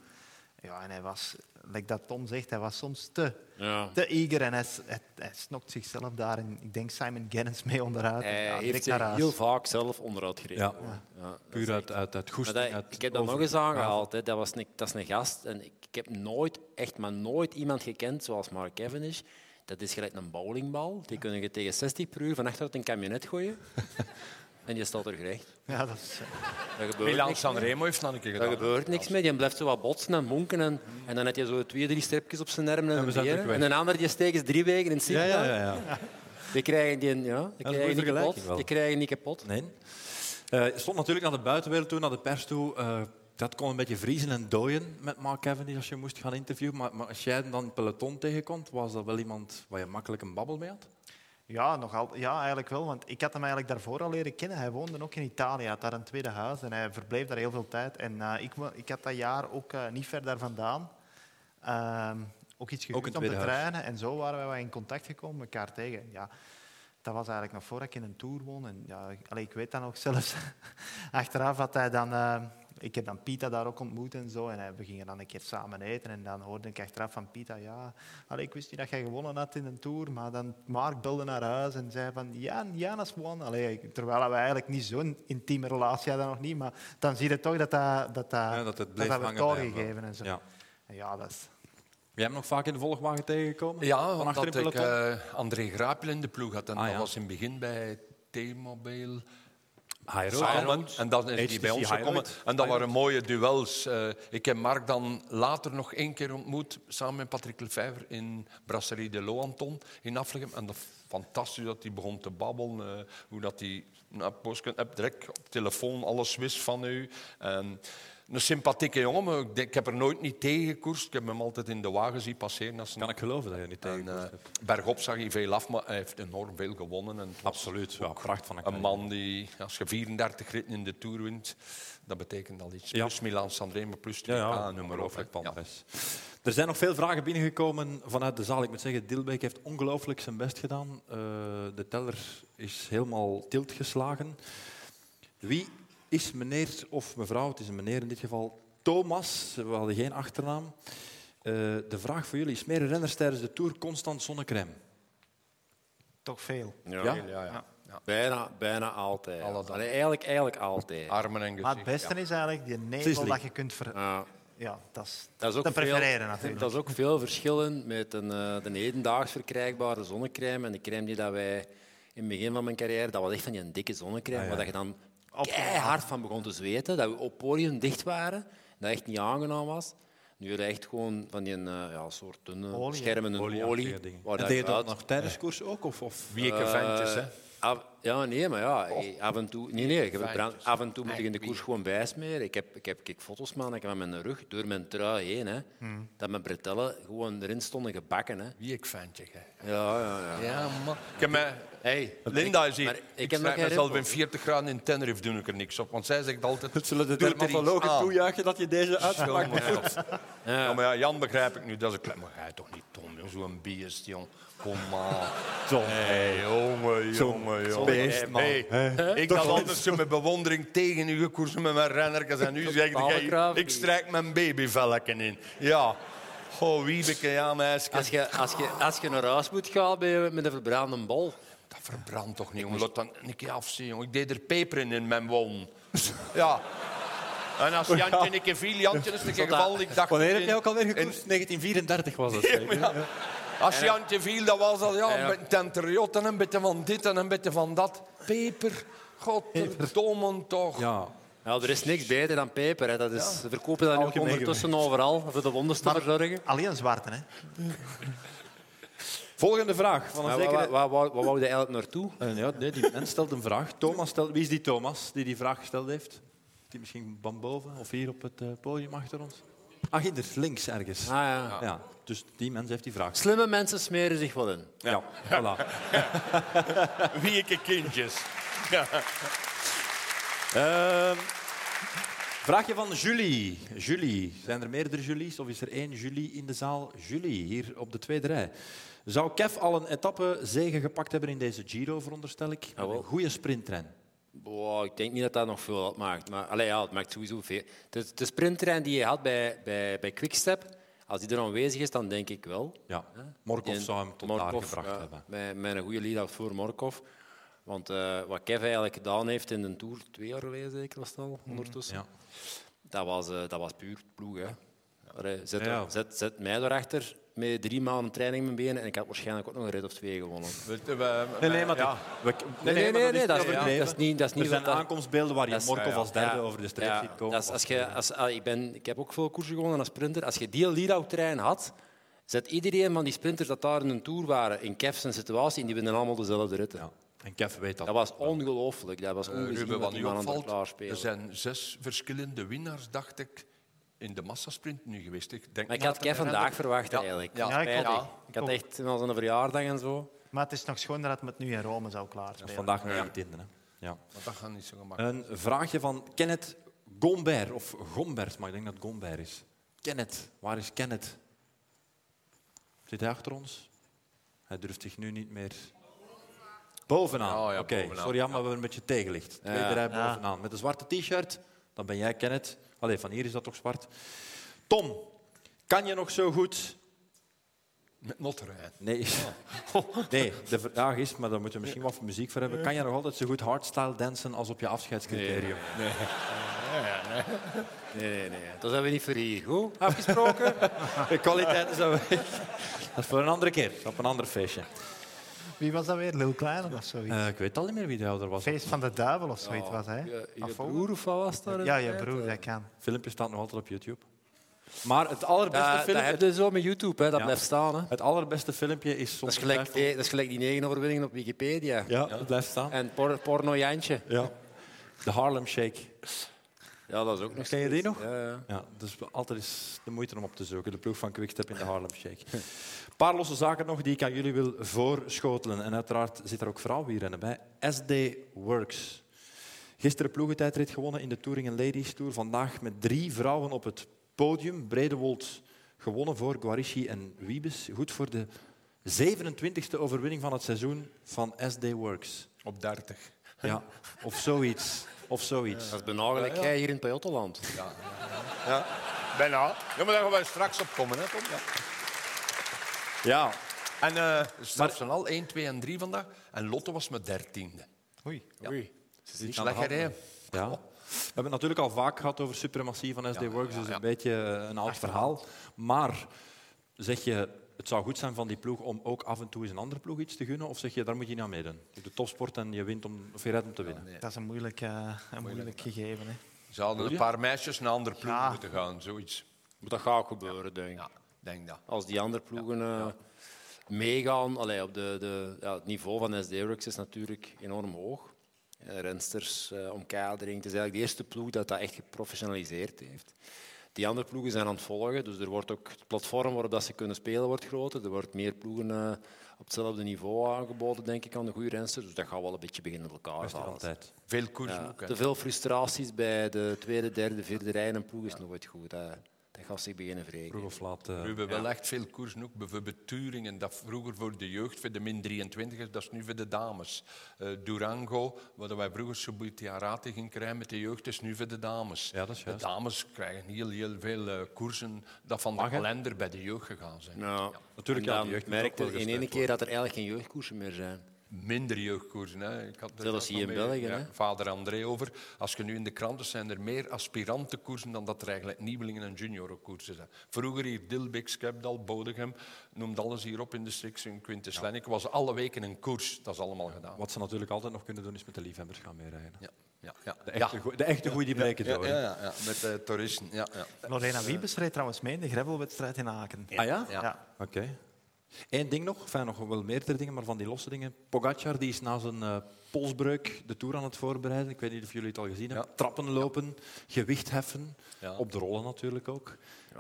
J: Ja, en hij was, like dat Tom zegt, hij was soms te,
E: Ja.
J: te eager. En hij, s- hij, hij snokt zichzelf daar. En ik denk Simon Gennens mee onderuit.
E: Hij
J: ja, direct
E: heeft
J: naar
E: zich
J: huis.
E: heel vaak zelf onderuit gereden.
A: Ja.
E: Ja, dat is
A: Puur uit, uit, uit
E: Maar
A: goesting.
E: dat-
A: uit
E: ik heb dat
A: over-
E: nog eens aangehaald. Hè. Dat, was een, dat is een gast. En ik, ik heb nooit, echt maar nooit iemand gekend zoals Mark Cavendish. Dat is gelijk een bowlingbal. Die kunnen je tegen 60 per uur van achteruit een kabinet gooien. en je staat er gerecht.
J: Ja, dat is, eh,
E: Dat gebeurt
C: Milan
E: niks meer.
C: Sanremo heeft dat een keer
E: Daar
C: gedaan.
E: gebeurt niks mee. Die blijft zo wat botsen en monken. En, en dan heb je zo twee, drie streepjes op zijn armen en,
A: we
E: een
A: zijn terug
E: benen. En
A: weg.
E: een ander die steekt eens drie weken in het
A: Ja,
E: ziekenhuis.
A: ja, ja. ja.
E: Die krijgen die, ja, die
A: een
E: krijgen
A: goeie
E: niet
A: vergelijking
E: kapot.
A: wel.
E: Die krijgen niet kapot.
A: Nee. Eh, het stond natuurlijk aan de buitenwereld toe, naar de pers toe. eh, dat kon een beetje vriezen en dooien met Mark Cavendish als je hem moest gaan interviewen. Maar, maar als jij hem dan in het peloton tegenkomt, was dat wel iemand waar je makkelijk een babbel mee had?
J: Ja, nogal, ja, eigenlijk wel. Want ik had hem eigenlijk daarvoor al leren kennen. Hij woonde ook in Italië, had daar een tweede huis en hij verbleef daar heel veel tijd. En eh, ik, wo- ik had dat jaar ook eh, niet ver daar vandaan. Ehm, ook iets gehuurd om te
A: tweede huis.
J: trainen. En zo waren wij wat in contact gekomen, elkaar tegen. Ja, dat was eigenlijk nog voordat ik in een tour won. En ja, ik- allee, ik weet dat nog zelfs. Achteraf had hij dan... eh, ik heb dan Pita daar ook ontmoet en zo. En eh, we gingen dan een keer samen eten. En dan hoorde ik achteraf van Pita, ja... Allee, ik wist niet dat jij gewonnen had in een tour. Maar dan Mark belde naar huis en zei van... Ja, Janas won. Allee, ik- terwijl we eigenlijk niet zo'n intieme relatie hadden nog niet. Maar dan zie je toch dat dat... Dat, dat,
D: Ah,
A: Ja, dat het bleef
J: dat werd
A: hangen bij hem,
J: doorgegeven en zo.
A: Ja.
J: En ja, dat is...
A: Ben jij hem nog vaak in de volgwagen tegengekomen?
C: Ja,
A: Van achter in
C: omdat
A: het
C: ik
A: peloton?
C: eh, André Graapel in de ploeg had. En
A: Ah,
C: dat
A: ja.
C: was in het begin bij T-Mobile.
A: High road.
C: Samen. En dan is
A: HTC
C: die bij ons gekomen.
A: Highlight.
C: En dat waren mooie duels. Eh, ik heb Mark dan later nog één keer ontmoet, samen met Patrick Lefevre in Brasserie de Loanton in Aflegem. En dat fantastisch dat hij begon te babbelen. eh, hoe dat hij nou, postkunt heb direct op telefoon alles wist van u. En een sympathieke jongen, maar ik, denk- ik heb er nooit niet tegengekoerst. Ik heb hem altijd in de wagen zien passeren. Als een
A: Kan ik geloven dat je niet tegen
C: en, eh, bergop zag hij veel af, maar hij heeft enorm veel gewonnen. En het was
A: Absoluut, ja, pracht van een
C: een man die, als je 34 ritten in de Tour wint, dat betekent al iets.
A: Ja.
C: Plus Milan Sanremo, plus 2K,
A: Ja, ja,
C: noem maar op.
A: ongelooflijk
C: Ja.
A: palmarès. Er zijn nog veel vragen binnengekomen vanuit de zaal. Ik moet zeggen, Dilbeek heeft ongelooflijk zijn best gedaan. Eh, de teller is helemaal tilt geslagen. Wie is meneer of mevrouw, het is een meneer in dit geval, Thomas, we hadden geen achternaam, Eh, de vraag voor jullie: smeren renners tijdens de Tour constant zonnecrème?
D: Toch veel.
E: Ja.
A: Ja?
C: Ja, ja.
E: Bijna, bijna altijd.
C: Alle dagen. Ah.
E: Allee, eigenlijk, eigenlijk altijd.
C: Armen en
D: Maar het
C: gezicht.
D: beste is eigenlijk die nevel
A: Sizzling.
D: dat je kunt ver...
E: Ja.
D: Ja, dat is
E: Dat is ook
D: te
E: veel-
D: prefereren natuurlijk.
E: Dat is ook veel verschillen met een, eh, de hedendaags verkrijgbare zonnecrème en de crème die dat wij in het begin van mijn carrière, dat was echt van die dikke
D: Ah,
E: zonnecrème, waar dat je dan keihard van begon te zweten, dat we op podium dicht waren, dat echt niet aangenaam was. Nu heb je echt gewoon van die eh, ja, soort dunne
D: Olie, hè?
E: schermende olie.
A: Olieachtige dingen.
E: waar
A: En
E: dat
A: deed je dat
E: uit-
A: nog tijdens koers ook? Of, of? Eh,
C: Wie ik een vent is, hè.
E: Af- Eh, ja, nee, maar ja,
A: Oh.
E: af en toe, nee, nee, je verbrandt- af en toe moet ik in de
C: Eigenlijk
E: koers gewoon bijsmeren. Ik heb, ik heb kijk, foto's maken van mijn rug door mijn trui heen, hè,
A: Hmm.
E: dat mijn bretellen gewoon erin stonden gebakken. Hè.
C: Wie ik ventje, hè.
E: Ja, ja, ja.
C: Ja, man. Ik heb mij...
E: Hey,
C: Linda is
E: maar
C: hier.
E: ik
C: Ik,
E: heb nog
C: heb
E: geen
C: mezelf in
E: rimpels.
C: 40 graden in Tenerife doe ik er niks op. Want zij zegt altijd...
A: Het zullen de
C: doe er iets
A: dermatologen
C: aan.
A: toejuichen dat je deze uitspraak
C: Ja, maar ja.
E: Ja.
C: Ja, Nou, maar ja, Jan begrijp ik nu. Dat is een klein... Maar jij toch niet, Tom, jong, zo'n beest, jong. Kom maar.
A: Tom.
C: Hey, jongen, jongen, jongen.
A: beest, man.
C: Hey, ik had anders zo met bewondering tegen u gekoersen met mijn rennerkens. En nu zeg jij,
E: Ballenkraaf.
C: ik strijk mijn babyvelken in. Ja. Oh, wiebeke, ja, meisje.
E: Als je, als, je, als je naar huis moet gaan bij- met een verbrande bal,
C: Dat verbrandt toch niet, jongen. Laat dan een keer afzien, jongen. Ik deed er peper in in mijn won. ja. En als Jantje een keer viel, Jantje is een keer gevallen. Ik dacht...
A: Wanneer heb jij ook alweer
C: in-
A: gekoerst? 1934 was het. zeker?
C: Ja. Als Jantje viel, dat was dat ja,
E: Ja.
C: een beetje tenteriot en een beetje van dit en een beetje van dat. Peper, godverdomme toch.
A: Ja.
E: ja, er is niks beter dan peper. Hè. Dat is, Ze verkopen dat nu ook ondertussen overal, voor de wonders te verzorgen.
D: Alleen zwarte, hè?
A: Volgende vraag van een
E: Maar Waar
A: zekere...
E: waar- waar- waar wou je eigenlijk naartoe?
A: Eh, ja, nee, die mens stelt een vraag. Thomas stelt... Wie is die Thomas die die vraag gesteld heeft? Die misschien van boven of hier op het eh, podium achter ons? Ah, hier, links ergens.
E: Ah, ja.
A: Ja, dus die mens heeft die vraag.
E: Slimme mensen smeren zich wel in.
A: Ja, voilà.
C: Wieke kindjes.
A: Ehm, vraagje van Julie. Julie. Zijn er meerdere Julies of is er één Julie in de zaal? Julie, hier op de tweede rij. Zou Kev al een etappe zegen gepakt hebben in deze Giro, veronderstel ik? Met
E: Jawel.
A: een goede sprintrein.
E: Boah, ik denk niet dat dat nog veel uitmaakt. Maar allee, ja, het maakt sowieso veel. De, de sprinttrein die je had bij, bij, bij Quickstep, als die er aanwezig is, dan denk ik wel.
A: Ja. Morkov
E: Die-
A: zou hem tot daar
E: Morkov,
A: gebracht
E: ja,
A: hebben.
E: Met, met een goede lead-out voor Morkov. Want eh, wat Kev eigenlijk gedaan heeft in een Tour, twee jaar geleden zeker was het al, ondertussen.
A: Mhm, Ja.
E: Dat, was, eh, dat was puur ploeg. Hè. Allee, zet,
A: Ja.
E: zet, zet mij daarachter met drie maanden training in mijn benen en ik had waarschijnlijk ook nog een rit of twee gewonnen.
A: Nee, nee, maar
C: ja.
A: we-
E: Nee, nee,
A: maar
E: nee, nee, dat is-
A: overdreven.
E: ja, dat is niet- dat is niet
A: Er zijn
E: wat dat-
A: aankomstbeelden waar je
E: Dat is-
A: Morkov als derde
E: Ja.
A: over de streep
E: Ja,
A: ziet komen.
E: dat is als je, als, ah, ik, ben, ik heb ook veel koersen gewonnen als sprinter. Als je die lead-out-trein had, zet iedereen van die sprinters dat daar in een tour waren, in Kev's situatie, en die winnen allemaal dezelfde ritten.
A: Ja. En Kev weet dat.
E: Dat was ongelooflijk. Dat was ongezien
C: Eh, Ruben,
E: wat
C: wat nu
E: iemand anders klaar
C: opvalt, er
E: speelde.
C: zijn zes verschillende winnaars, dacht ik, in de massasprint nu geweest. Ik, denk
E: Maar ik
C: na
E: had
C: te
E: Kev vandaag
C: herinneren-
E: verwacht
C: Ja,
E: eigenlijk.
C: ja.
D: Ja, ik
E: Spijtig.
D: ook.
E: Ik had echt als een verjaardag en zo.
D: Maar het is nog schoon dat het met nu in Rome zou
A: Dat is
D: klaarspelen.
A: vandaag nog niet in. Hè. Ja.
C: Maar dat gaat niet zo gemakkelijk.
A: Een vraagje van Kenneth Gomber, of Gombert, maar ik denk dat het Gomber is. Kenneth, waar is Kenneth? Zit hij achter ons? Hij durft zich nu niet meer... Bovenaan,
C: Oh ja,
A: oké.
C: bovenaan.
A: Sorry, Jan, maar we hebben een beetje tegenlicht. Tweede rij bovenaan, met een zwarte t-shirt. Dan ben jij Kenneth. Allee, van hier is dat toch zwart. Tom, kan je nog zo goed...
C: Met Notterijn.
A: Nee.
C: Oh.
A: nee, de vraag is, maar daar moeten we misschien wat muziek voor hebben. Kan je nog altijd zo goed hardstyle dansen als op je afscheidscriterium?
E: Nee, nee, nee. Dat zijn we niet voor hier. Goed?
A: afgesproken. De kwaliteit is al weg. Dat is voor een andere keer, op een ander feestje.
D: Wie was dat weer? Lil Kleine of zoiets?
A: Eh, ik weet al niet meer wie de ouder was.
D: Feest van de duivel of zoiets was, hè?
E: Je, je
D: Of hoe?
E: broer of wat was daar?
D: Ja, je broer, dat kan.
A: Het filmpje staat nog altijd op YouTube. Maar het allerbeste,
E: dat
A: filmpje,
E: heb je zo met YouTube, hè. dat
A: Ja.
E: blijft staan. Hè.
A: het allerbeste filmpje is
E: Dat,
A: soms.
E: is gelijk, die- dat is gelijk die negen overwinningen op Wikipedia.
A: Ja, het blijft staan.
E: En por, porno Jantje.
A: Ja. De Harlem Shake.
E: Ja, dat is ook nog
A: Ken je die nog?
E: Ja, ja.
A: Ja, dus altijd is de moeite om op te zoeken. De ploeg van Quickstep in de Harlem Shake. Een paar losse zaken nog die ik aan jullie wil voorschotelen. En uiteraard zit er ook vrouwenwielrennen bij. SD Works. Gisteren ploegentijdrit gewonnen in de Touring Ladies Tour. Vandaag met drie vrouwen op het podium. Bredewold gewonnen voor Guarici en Wiebes. Goed voor de 27e overwinning van het seizoen van SD Works.
C: Op 30.
A: Ja, of zoiets. Of zoiets.
E: Dat is benadelijk jij hier in het Pajottenland.
H: Bijna. Ja, maar daar gaan we straks op komen. Hè, Tom. Ja.
A: Ja,
C: En eh straf zijn al 1, 2 en 3 vandaag. En Lotte was mijn dertiende.
D: Oei.
C: Niet slecht gereden.
A: Ja. We hebben het natuurlijk al vaak gehad over suprematie van SD Works, dus een beetje eh, een oud verhaal. Maar zeg je, het zou goed zijn van die ploeg om ook af en toe eens een andere ploeg iets te gunnen? Of zeg je, daar moet je niet aan meedoen? Je doet de topsport en je, wint om, of je rijdt om te winnen.
D: Dat is een moeilijk, eh, een moeilijk gegeven. Hè.
C: Ze
A: Oh,
C: hadden een paar meisjes naar een andere ploeg
D: Ja.
C: moeten gaan, zoiets.
E: Maar dat gaat ook gebeuren, denk ik.
C: Ja, denk dat.
E: Als die andere ploegen eh, meegaan, allee, op de, de, ja, het niveau van SD Works is natuurlijk enorm hoog. Eh, rensters, eh, omkadering. Het is eigenlijk de eerste ploeg dat dat echt geprofessionaliseerd heeft. Die andere ploegen zijn aan het volgen, dus er wordt ook het platform waarop dat ze kunnen spelen wordt groter. Er wordt meer ploegen eh, op hetzelfde niveau aangeboden, denk ik, aan de goede rensters. Dus dat gaat wel een beetje beginnen op elkaar
A: Dat is er
E: vallen.
A: altijd.
C: Veel koers
E: Ja,
C: ook, hè.
E: te veel frustraties bij de tweede, derde, vierde rij in een ploeg is nooit goed. Dat, dat gaat zich beginnen
A: Vroeg
E: wreken.
A: of laat. eh,
C: We hebben wel echt veel koersen ook. Bijvoorbeeld Turingen, dat vroeger voor de jeugd, voor de min 23ers, dat is nu voor de dames. Eh, Durango, wat wij vroeger Subutiarate gingen krijgen met de jeugd, is nu voor de dames.
A: Ja, dat is
C: de
A: juist.
C: dames krijgen heel, heel veel eh, koersen dat van de
A: Mag, hè?
C: kalender bij de jeugd gegaan zijn.
E: Ja.
A: Natuurlijk,
E: En
A: ja,
E: dan
A: de jeugd moet ook
E: merkte
A: wel
E: in
A: gesteund
E: één keer dat er eigenlijk geen jeugdkoersen meer zijn.
C: Minder jeugdkoersen. Hè. Ik had er
E: Zelfs
C: nog
E: hier in
C: mee-
E: België,
C: ja,
E: hè?
C: Vader André over. Als je nu in de kranten zijn er meer aspirantenkoersen dan dat er eigenlijk nieuwelingen en juniorenkoersen zijn. Vroeger hier Dilbeek, Skepdal, Bodegem, noemt alles hier op in de Strix en Quintus Lennik. Was alle weken een koers. Dat is allemaal gedaan.
A: Wat ze natuurlijk altijd nog kunnen doen, is met de liefhebbers gaan meerijden.
C: Ja, ja, ja.
A: De echte, goe- de echte goeie die blijken
C: Ja,
A: door.
C: ja, ja, ja, met de toeristen. Ja, ja.
D: Lorena Wiebes reed trouwens mee in de gravelwedstrijd in Aken.
A: Ah ja?
C: Ja.
A: Oké. Eén ding nog, enfin, nog wel meerdere dingen, maar van die losse dingen. Pogacar die is na zijn eh, polsbreuk de Tour aan het voorbereiden. Ik weet niet of jullie het al gezien hebben. Trappen lopen, gewicht heffen,
C: Ja.
A: op de rollen natuurlijk ook.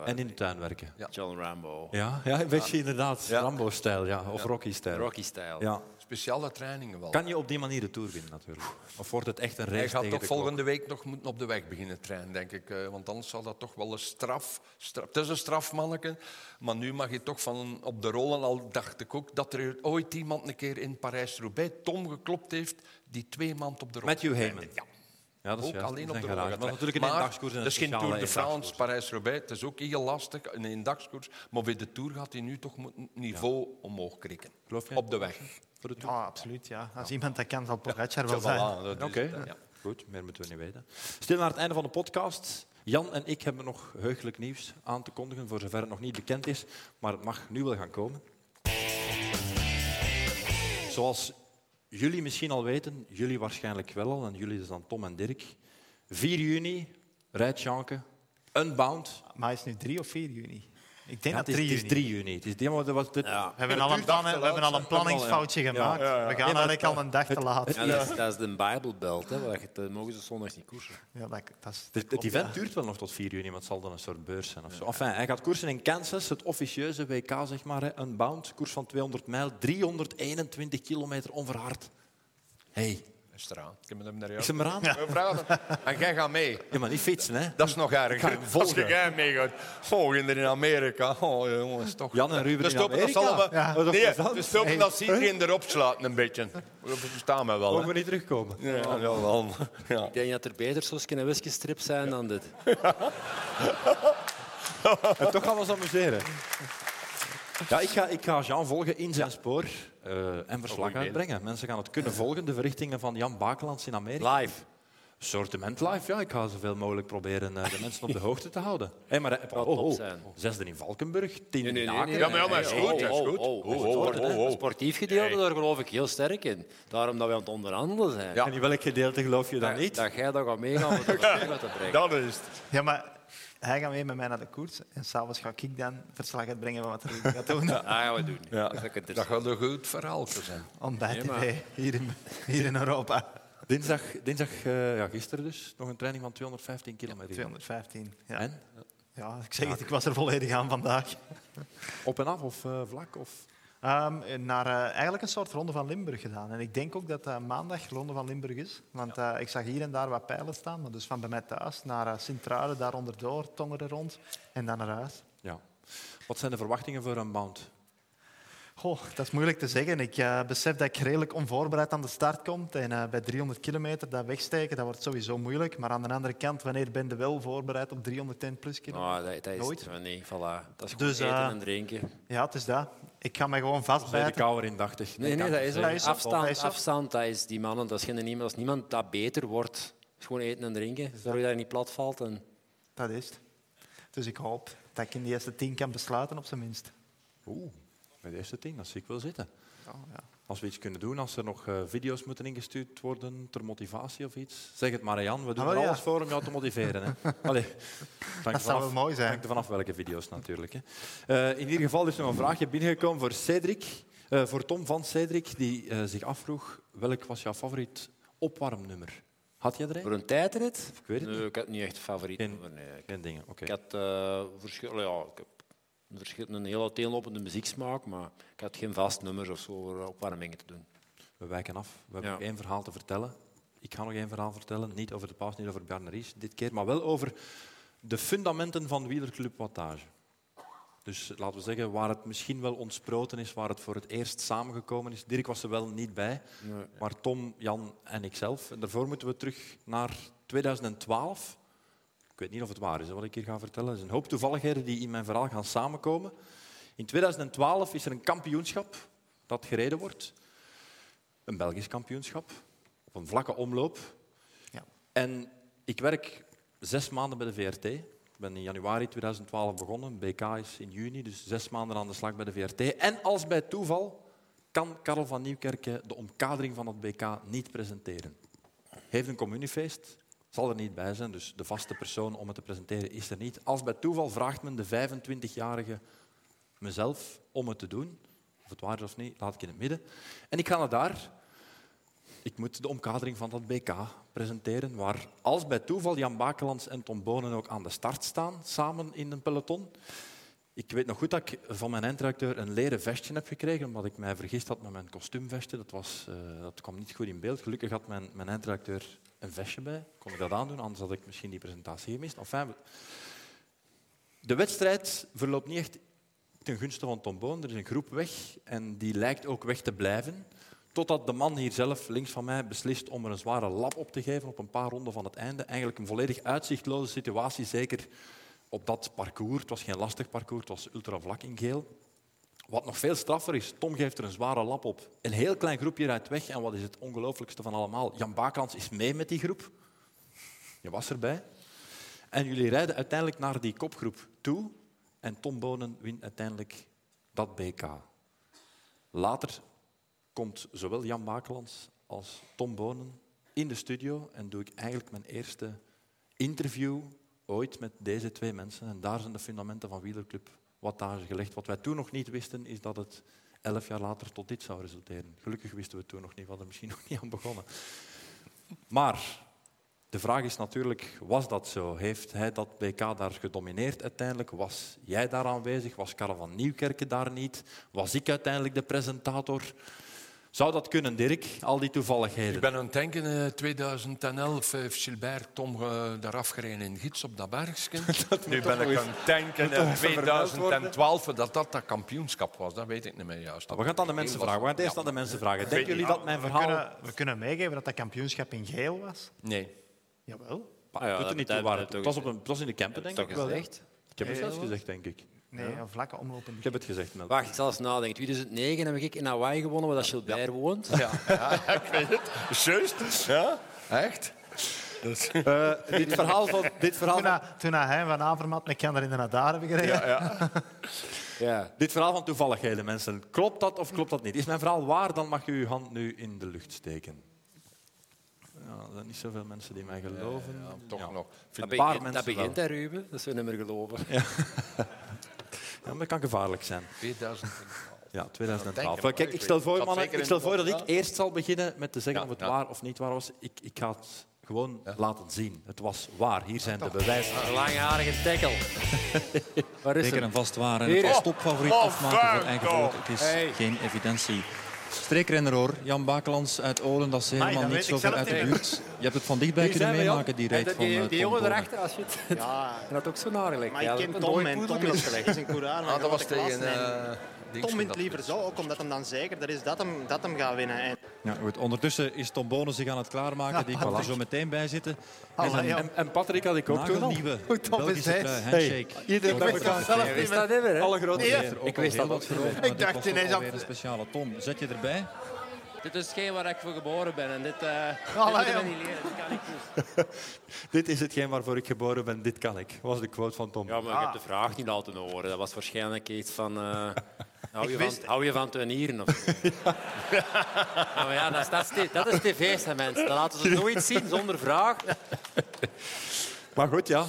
A: en in de tuin werken.
C: Ja.
E: John Rambo.
A: Ja, ja een beetje inderdaad. Rambo-stijl, ja. Of Rocky-stijl.
E: Rocky-stijl.
A: Ja.
C: Speciale trainingen wel.
A: Kan je op die manier de Tour winnen natuurlijk? Of wordt het echt een race
C: Hij gaat
A: tegen
C: toch
A: de klok?
C: volgende week nog moeten op de weg beginnen trainen, denk ik. eh, Want anders zal dat toch wel een straf... straf het is een strafmanneke, maar nu mag je toch van op de rollen... Al dacht ik ook dat er ooit iemand een keer in Parijs-Roubaix Tom geklopt heeft die twee maand op de rollen...
A: Matthew Heyman.
C: Ja.
A: Ja, dat is
C: Ook
A: juist.
C: alleen
A: Dat
C: op
A: is
C: de
A: een
C: rollen.
A: garage. Maar natuurlijk een
C: maar
A: eendagskoers en
C: dat
A: een
C: is geen
A: speciale
C: Tour de France,
A: eendagskoers.
C: Parijs-Roubaix. Het is ook heel lastig, een eendagskoers. Maar bij de Tour gaat hij nu toch moet het niveau omhoog krikken.
A: Geloof jij?
C: Op de weg.
A: Voor de Tour?
D: Ja, Ah, absoluut. Ja. Als iemand dat kan, zal Pogacar wel
C: Voilà,
D: zijn.
C: dat is
A: Oké,
C: het, hè. Dus, eh, Ja.
A: goed, meer moeten we niet weten. Stil naar het einde van de podcast. Jan en ik hebben nog heugelijk nieuws aan te kondigen, voor zover het nog niet bekend is, maar het mag nu wel gaan komen. Zoals jullie misschien al weten, jullie waarschijnlijk wel al, en jullie is dan Tom en Dirk. 4 juni rijdt Janke Unbound.
D: Maar is het nu 3 of 4 juni? Ik denk
A: Ja,
D: dat
A: het is,
D: 3
A: het
D: juni.
A: is 3 juni. Het is, ja, maar dat was dit-
D: We hebben, al een, plan, we hebben al een planningsfoutje gemaakt. We gaan eigenlijk al een dag te laat.
E: Ja, dat, is, dat is de Bijbelbelt, hè, waar je- dat mogen ze zondags niet koersen.
D: Ja, dat, dat is,
A: Het, het event duurt wel nog tot 4 juni, maar het zal dan een soort beurs zijn. Of zo. Enfin, hij gaat koersen in Kansas, het officieuze WK, zeg maar. Hè. Een bound, koers van 200 mijl, 321 kilometer onverhard. hey,
C: Is eraan. Ik heb hem naar
A: is
C: jou.
A: hem eraan?
C: We vragen hem. En jij gaat mee.
A: Ja, maar niet fietsen, hè?
C: Dat is nog
A: ga
C: erger.
A: hem
C: Als
A: volgen.
C: jij meegaat. Oh, kinderen in Amerika. Oh, jongens, toch.
A: Jan en Ruben
C: We
A: in
C: stoppen dat
A: Amerika.
C: allemaal.
A: Ja. Dat is
C: Nee,
A: plezant.
C: we stoppen dat iedereen erop slaat een beetje. We verstaan mij wel.
A: Mogen
C: Hè.
A: we niet terugkomen?
C: Ja, ja, wel. Ja.
E: Ik denk dat er beter Sosken en Wiske strips zijn dan dit.
A: En toch gaan we ons amuseren. Ja, ik ga, ik ga Jean volgen in zijn spoor eh, en verslag uitbrengen. Mensen gaan het kunnen volgen, de verrichtingen van Jan Bakelands in Amerika.
E: Live.
A: Sortiment live, ja. Ik ga zoveel mogelijk proberen eh, de mensen op de hoogte te houden. Hé, maar, eh, oh, oh,
E: top
A: oh.
E: zijn.
A: zesde in Valkenburg, tien in Aken.
C: Ja, maar ja, maar is
E: Nee, nee,
C: goed,
E: nee.
C: dat is
E: Oh,
C: goed.
E: oh, oh,
C: Oh,
E: het
C: oh,
E: wordt, hè.
C: oh, oh.
E: Het sportief gedeelte, daar geloof ik heel sterk in. Daarom dat we aan het onderhandelen zijn.
A: En in welk gedeelte geloof je dan niet?
E: Dat jij daar gaat meegaan om het verslag te brengen.
H: Dat is het.
D: Ja, maar hij gaat mee met mij naar de koers. En s'avonds ga ik dan verslag uitbrengen van wat er gaat doen.
E: Dat gaan Ah, we doen. Dat is ook
C: Dat
E: interessant.
C: gaat een goed verhaal zijn.
D: Ontbijt TV, hier in, hier in Europa.
A: Dinsdag, dinsdag eh, ja, gisteren dus, nog een training van 215 kilometer.
D: 215. Ja.
A: En?
D: ja, ik zeg het, ik was er volledig aan vandaag.
A: Op en af of eh, vlak? Of...
D: Ehm, naar eh, eigenlijk een soort Ronde van Limburg gedaan. En ik denk ook dat eh, maandag Ronde van Limburg is. Want eh, ik zag hier en daar wat pijlen staan. Maar dus van bij mij thuis naar eh, Sint-Truiden, daar onderdoor, tongeren rond. En dan naar huis.
A: Ja. Wat zijn de verwachtingen voor een bound?
D: Goh, dat is moeilijk te zeggen. Ik eh, besef dat ik redelijk onvoorbereid aan de start kom. En eh, bij 300 kilometer dat wegsteken, dat wordt sowieso moeilijk. Maar aan de andere kant, wanneer ben je wel voorbereid op 310 plus kilometer?
E: Nou, dat, dat is
D: Nooit.
E: het. Nee, voilà. Dat is goed
D: Dus,
E: eten
D: eh,
E: en drinken.
D: Ja, het is dat. Ik ga me gewoon
A: Bij de
D: vastbijten.
A: kouder indachtig.
E: Nee, nee, dat is
D: dat is
E: het.
D: zo.
E: Afstand,
D: Dat is zo.
E: afstand, dat is die mannen. Dat is geen, niemand- als niemand dat beter wordt, is gewoon eten en drinken. Zorg dat je niet plat valt. En...
D: Dat is het. Dus ik hoop dat ik in de eerste tien kan besluiten, op zijn minst.
A: Oeh, bij de eerste tien, dat zie ik wel zitten.
D: Oh, ja.
A: Als we iets kunnen doen, als er nog eh, video's moeten ingestuurd worden ter motivatie of iets. Zeg het maar, Jan. We doen
D: Ah, wel,
A: er
D: ja.
A: alles voor om jou te motiveren. Hè. Allee,
D: Dat zou wel mooi zijn.
A: Hangt er vanaf welke video's natuurlijk. Hè. Eh, in ieder geval is er nog een vraagje binnengekomen voor Cedric. eh, voor Tom van Cedric, die eh, zich afvroeg welk was jouw favoriet opwarmnummer? Had jij er een?
E: Voor een tijdrit?
A: Ik weet het
E: Nee, ik had niet echt een favoriet.
A: Geen-
E: nummer, nee.
A: Geen dingen, oké.
E: Ik had eh, verschil, ja, ik heb een, verschil, een heel uiteenlopende muzieksmaak, maar ik had geen vast nummer of zo voor opwarmingen te doen.
A: We wijken af. We hebben
E: Ja.
A: nog één verhaal te vertellen. Ik ga nog één verhaal vertellen. Niet over de paus, niet over Bjarne Ries dit keer, maar wel over de fundamenten van wielerclub Wattage. Dus laten we zeggen, waar het misschien wel ontsproten is, waar het voor het eerst samengekomen is. Dirk was er wel niet bij, maar Tom, Jan en ikzelf. En daarvoor moeten we terug naar 2012. Ik weet niet of het waar is hè, wat ik hier ga vertellen. Er zijn een hoop toevalligheden die in mijn verhaal gaan samenkomen. In 2012 is er een kampioenschap dat gereden wordt. Een Belgisch kampioenschap. Op een vlakke omloop.
D: Ja.
A: En ik werk zes maanden bij de VRT. Ik ben in januari 2012 begonnen. BK is in juni, dus zes maanden aan de slag bij de VRT. En als bij toeval kan Karel van Nieuwkerken de omkadering van het BK niet presenteren. Heeft een communiefeest, zal er niet bij zijn, dus de vaste persoon om het te presenteren is er niet. Als bij toeval vraagt men de 25-jarige mezelf om het te doen. Of het waar is of niet, laat ik in het midden. En ik ga naar daar. Ik moet de omkadering van dat BK presenteren, waar als bij toeval Jan Bakelands en Tom Bonen ook aan de start staan, samen in een peloton. Ik weet nog goed dat ik van mijn eindredacteur een leren vestje heb gekregen, omdat ik mij vergist had met mijn kostuumvestje. Dat, was, eh, dat kwam niet goed in beeld. Gelukkig had mijn, mijn eindredacteur een vestje bij. Kon ik dat aandoen, anders had ik misschien die presentatie gemist. Enfin, we- de wedstrijd verloopt niet echt ten gunste van Tom Boon. Er is een groep weg en die lijkt ook weg te blijven. Totdat de man hier zelf, links van mij, beslist om er een zware lap op te geven op een paar ronden van het einde. Eigenlijk een volledig uitzichtloze situatie, zeker op dat parcours. Het was geen lastig parcours, het was ultravlak in geel. Wat nog veel straffer is, Tom geeft er een zware lap op. Een heel klein groepje rijdt weg en wat is het ongelooflijkste van allemaal? Jan Bakelans is mee met die groep. Je was erbij. En jullie rijden uiteindelijk naar die kopgroep toe. En Tom Bonen wint uiteindelijk dat BK. Later komt zowel Jan Bakelands als Tom Bonen in de studio en doe ik eigenlijk mijn eerste interview ooit met deze twee mensen. En daar zijn de fundamenten van Wielerclub Wattage gelegd. Wat wij toen nog niet wisten, is dat het elf jaar later tot dit zou resulteren. Gelukkig wisten we toen nog niet, we hadden er misschien nog niet aan begonnen. Maar de vraag is natuurlijk, was dat zo? Heeft hij dat BK daar gedomineerd uiteindelijk? Was jij daar aanwezig? Was Karel van Nieuwkerken daar niet? Was ik uiteindelijk de presentator? Zou dat kunnen, Dirk? Al die toevalligheden.
C: Ik ben aan het denken, eh, 2011 heeft Gilbert Tom eh, daar afgereden in Gids op dat bergje. nu ben ik aan het denken, eh, 2012, dat dat dat kampioenschap was. Dat weet ik niet meer juist.
A: We gaan het aan de mensen vragen. We gaan het eerst aan de mensen vragen. Denken jullie dat mijn
D: We
A: verhaal...
D: kunnen, we kunnen meegeven dat dat kampioenschap in geel was.
A: Nee.
D: Jawel.
A: Pa,
E: Ah ja,
A: doet er
E: dat-
A: niet
E: dat-
A: toe waar.
E: dat-
A: Het was, op een, het was in de camper, denk
E: toch
A: ik wel. hè?
E: gezegd?
A: Ik heb het zelfs gezegd, denk ik.
D: Nee, een vlakke omloop in
A: Ik heb het gezegd, Mel.
E: Wacht, ik zal eens nadenken. 2009 heb ik in Hawaii gewonnen, waar dat Gilbert woont. Ja.
H: Juist? Ja? Echt?
A: dit verhaal van... Dit verhaal
D: Toen,
A: van
D: hij- toen hij van Avermaat met Kander in de Nadar hebben gereden.
A: dit verhaal van toevalligheden, mensen. Klopt dat of klopt dat niet? Is mijn verhaal waar, dan mag u uw hand nu in de lucht steken. Ja, er zijn niet zoveel mensen die mij geloven.
C: Toch
A: Een
C: nog.
A: paar
E: Dat, begint, dat
A: mensen
E: begint,
A: wel.
E: hè, Ruben. Dat zullen we niet meer geloven.
A: Ja, maar dat kan gevaarlijk zijn.
C: 2012.
A: Ja, 2012. Wel, Kijk, ik stel voor, mannen, ik stel voor dat ik eerst zal beginnen met te zeggen of het waar of niet waar was. Ik, ik ga het gewoon laten zien. Het was waar. Hier zijn de bewijzen.
E: Een langharige tackle. Waar is
G: Zeker
E: hem?
G: en vast waar. En
E: Hier
G: het
E: is-
G: als topfavoriet
D: Oh,
G: afmaken voor eigen groot. Het is geen evidentie. Streekrenner hoor, Jan Bakelands uit Olen, dat is helemaal
D: dat
G: niet
D: weet
G: zo
D: ik
G: ver
D: zelf
G: uit de
D: niet.
G: buurt.
A: Je hebt het van dichtbij kunnen meemaken, die
E: En
A: reet
E: dat-
A: van eh,
E: die, die
A: Tom
E: jongen
A: Bonne.
E: erachter, als je het...
J: Ja,
E: En dat ook zo nagelekt.
J: maar ik ken Tom en Tom is slecht. Dat is een Koeraan.
C: Ah, dat was tegen... eh,
J: Tom
C: Dings
J: wint
C: dat
J: liever zo, ook omdat hem dan zeker dat is dat hem, dat hem gaat winnen. En
A: Ja, goed. Ondertussen is Tom Bonen zich aan het klaarmaken. Die komt er zo meteen bij zitten.
D: Hallo,
A: en
D: ja.
A: een
D: En, en Patrick had ik ook toen al.
A: nagelnieuwe
D: Hoe tof
A: Belgische
D: is hij?
A: trui, handshake.
D: Iedereen weet dat zelf niet meer.
E: Alle grote
D: Nee,
A: Er ook al heel wat voor, maar dit
D: dacht
A: was toch
D: ineens
A: alweer
D: af-
A: een speciale Tom. Zet je erbij?
E: Dit is geen waar ik voor geboren ben. En dit,
D: Allee, moeten we ja.
E: niet leren. Dit kan ik
D: Dit is hetgeen waarvoor ik geboren ben, dit kan ik. was de quote van Tom.
E: Ja, maar
J: Ah.
E: ik heb de vraag niet laten horen. Dat was waarschijnlijk iets van... eh, hou, je
D: wist-
E: van hou je van tuinieren of zo? Ja, maar ja, dat is, dat is, t- dat is tv's, hè, mensen. Dat laten ze nooit zien zonder vraag.
D: Maar goed, ja.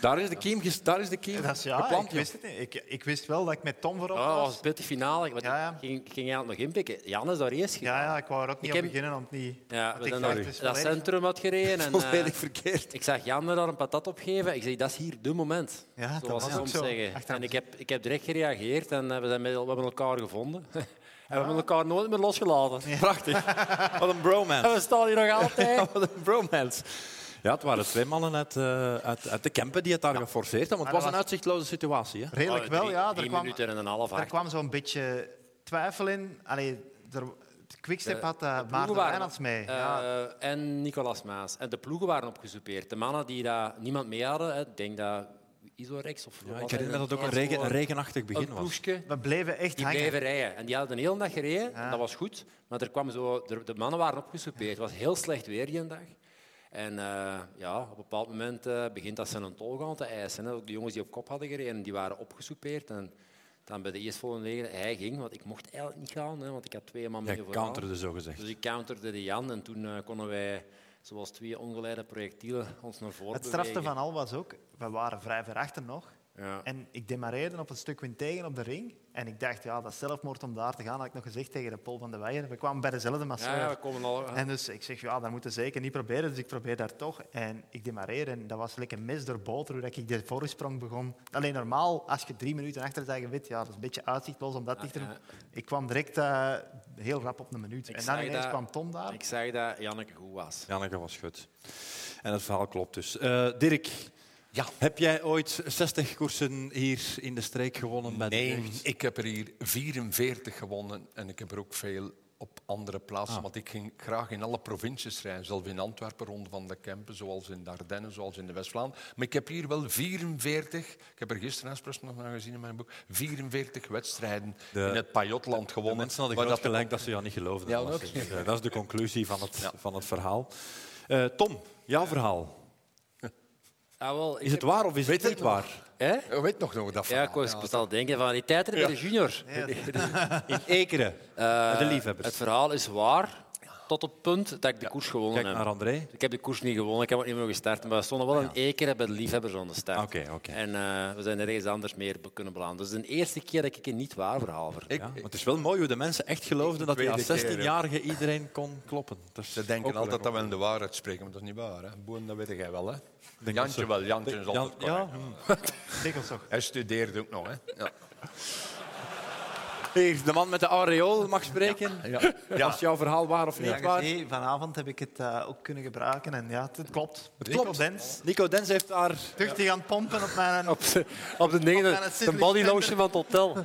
A: Daar is de kiem, ges- daar is de kiem
J: dat is ja,
A: geplant,
J: ik
A: joh.
J: wist het niet. Ik, ik wist wel dat ik met Tom voorop
E: Oh, dat was
J: was.
E: het bitter finale. Want
J: Ja, ja.
E: Ik ging, ik ging eigenlijk nog inpikken. Jan is daar eerst gegaan.
J: Ja, ja, ik wou er ook niet
E: Ik
J: op
E: heb-
J: beginnen, want niet.
E: Ja,
J: want
E: we zijn
J: dacht,
E: naar
J: het is
E: dat
J: volledig-
E: centrum had gereden. En, eh,
D: Volledig verkeerd.
E: ik zag Jan er daar een patat op geven. Ik zeg, dat is hier de moment.
J: Ja, dat
E: Zoals
J: was
E: ze
J: ook
E: soms
J: zo.
E: zeggen.
J: Achteraf
E: En ik heb, ik heb direct gereageerd en eh, we, zijn met, we hebben elkaar gevonden. en we hebben elkaar nooit meer losgelaten.
A: Prachtig. Wat een
E: En
A: bromance.
E: we staan hier nog altijd.
A: Wat een bromance. Ja, het waren twee mannen uit, eh, uit, uit de Kempen die het daar geforceerd hebben. Want het was een uitzichtloze situatie. Hè?
J: Redelijk wel, ja. Er
E: Oh, Drie
J: kwam,
E: minuten en een half
J: er
E: acht.
J: kwam zo'n beetje twijfel in. Allee, er, het Quickstep had eh, Maarten
E: ploegen waren-
J: Wijnands mee.
E: Eh,
J: ja.
E: En Nicolas Maas. En de ploegen waren opgesoupeerd. De mannen die daar niemand mee hadden, hè, ik denk dat Isorex of...
A: Ja, ik herinner me dat het ook een, regen- een regenachtig begin
E: Een
A: was.
E: ploegje.
J: We bleven echt
E: Die
J: hangen.
E: bleven rijden. En die hadden een hele dag gereden. En dat was goed. Maar er kwam zo, er- de mannen waren opgesoupeerd. Het was heel slecht weer die dag. En eh, ja, op een bepaald moment eh, begint dat ze een tol gaan te eisen. Hè. Ook de jongens die op kop hadden gereden, die waren opgesoupeerd. En dan bij de eerstvolgende regen, hij ging, want ik mocht eigenlijk niet gaan, hè, want ik had twee man mee
A: Hij
E: vooraan.
A: counterde zo gezegd.
E: Dus ik counterde de Jan en toen eh, konden wij, zoals twee ongeleide projectielen, ons naar voren
J: Het strafste
E: bewegen.
J: van al was ook, we waren vrij ver achter nog.
E: Ja.
J: En ik demareerde op een stuk wind tegen op de ring. En ik dacht, ja, dat is zelfmoord om daar te gaan, had ik nog gezegd tegen de Paul van de Weijer. We kwamen bij dezelfde masseur.
E: Ja, ja, we komen al...
J: En dus ik zeg, ja, dat moeten we zeker niet proberen. Dus ik probeer daar toch. En ik demareer en dat was lekker mis door boter hoe dat ik de voorsprong begon. Alleen normaal, als je drie minuten achter zit, je weet, ja, dat is een beetje uitzichtloos om
E: Ah,
J: dat dichter te doen. Ik kwam direct eh, heel rap op een minuut. en dan
E: zag
J: ineens
E: dat-
J: kwam Tom daar.
E: Ik zei dat Janneke goed was.
A: Janneke was goed. En het verhaal klopt dus. Eh, Dirk,
C: Ja.
A: heb jij ooit 60 koersen hier in de streek gewonnen? Bij de
C: Nee,
A: jeugd?
C: ik heb er hier 44 gewonnen en ik heb er ook veel op andere
A: Ah.
C: plaatsen. Want ik ging graag in alle provincies rijden, zelf in Antwerpen, rond van de Kempen, zoals in de Ardennen, zoals in de West-Vlaanderen. Maar ik heb hier wel 44, ik heb er gisteren expres nog naar gezien in mijn boek, 44 wedstrijden
A: De-
C: in het Pajotland
A: De
C: gewonnen.
A: mensen hadden
C: waar
A: groot
C: dat-
A: gelijk dat ze jou niet geloofden.
C: Ja,
A: Dat was-
C: ook.
A: eh, dat is de conclusie van het, van het verhaal. Eh, Tom, jouw verhaal.
E: Ah, wel, ik
A: Is het
E: heb-
A: waar of is het niet waar?
E: Hè?
C: Je weet nog nog dat
E: Ja, ik
C: verhaal,
E: was ik was aan het denken van die tijd bij de junior.
A: In Ekeren,
E: Eh,
A: de liefhebbers.
E: Het verhaal is waar, tot het punt dat ik de koers gewonnen
A: Kijk
E: heb.
A: naar André.
E: eh, Ik heb de koers niet gewonnen, ik heb ook niet meer gestart. Maar we stonden wel een eker bij de liefhebbers aan de start.
A: Oké, oké.
E: En eh, we zijn ergens anders meer be- kunnen belanden. Dus de eerste keer dat ik een niet-waar verhaal vertel.
C: Ik-
A: Ja, maar het is wel mooi hoe de mensen echt geloofden dat die
C: tweede
A: als
C: keer,
A: 16-jarige iedereen kon kloppen. Dat is
C: Ze
A: ook
C: denken
A: wel
C: altijd
A: erg
C: dat we in de waarheid spreken, maar dat is niet waar. Hè? Boen, dat weet jij wel. Hè?
A: dat
C: Jantje
A: ze-
C: wel, Jantje is
A: op.
C: altijd
A: Jan- ja,
C: correct.
A: hm.
J: Dikwijls toch.
C: Hij studeerde ook nog. Hè? Ja.
A: Hier, de man met de aureool mag spreken.
C: Ja.
A: Als jouw verhaal waar of niet
J: Ja,
A: waar.
J: nee, vanavond heb ik het eh, ook kunnen gebruiken en ja, het klopt. Het
A: klopt. Nico Dens heeft daar
J: Tuchtig aan het pompen op mijn...
E: Op, de- op de dingen,
J: Op mijn
E: de
J: Citrus
E: body
J: Center.
E: lotion van het hotel.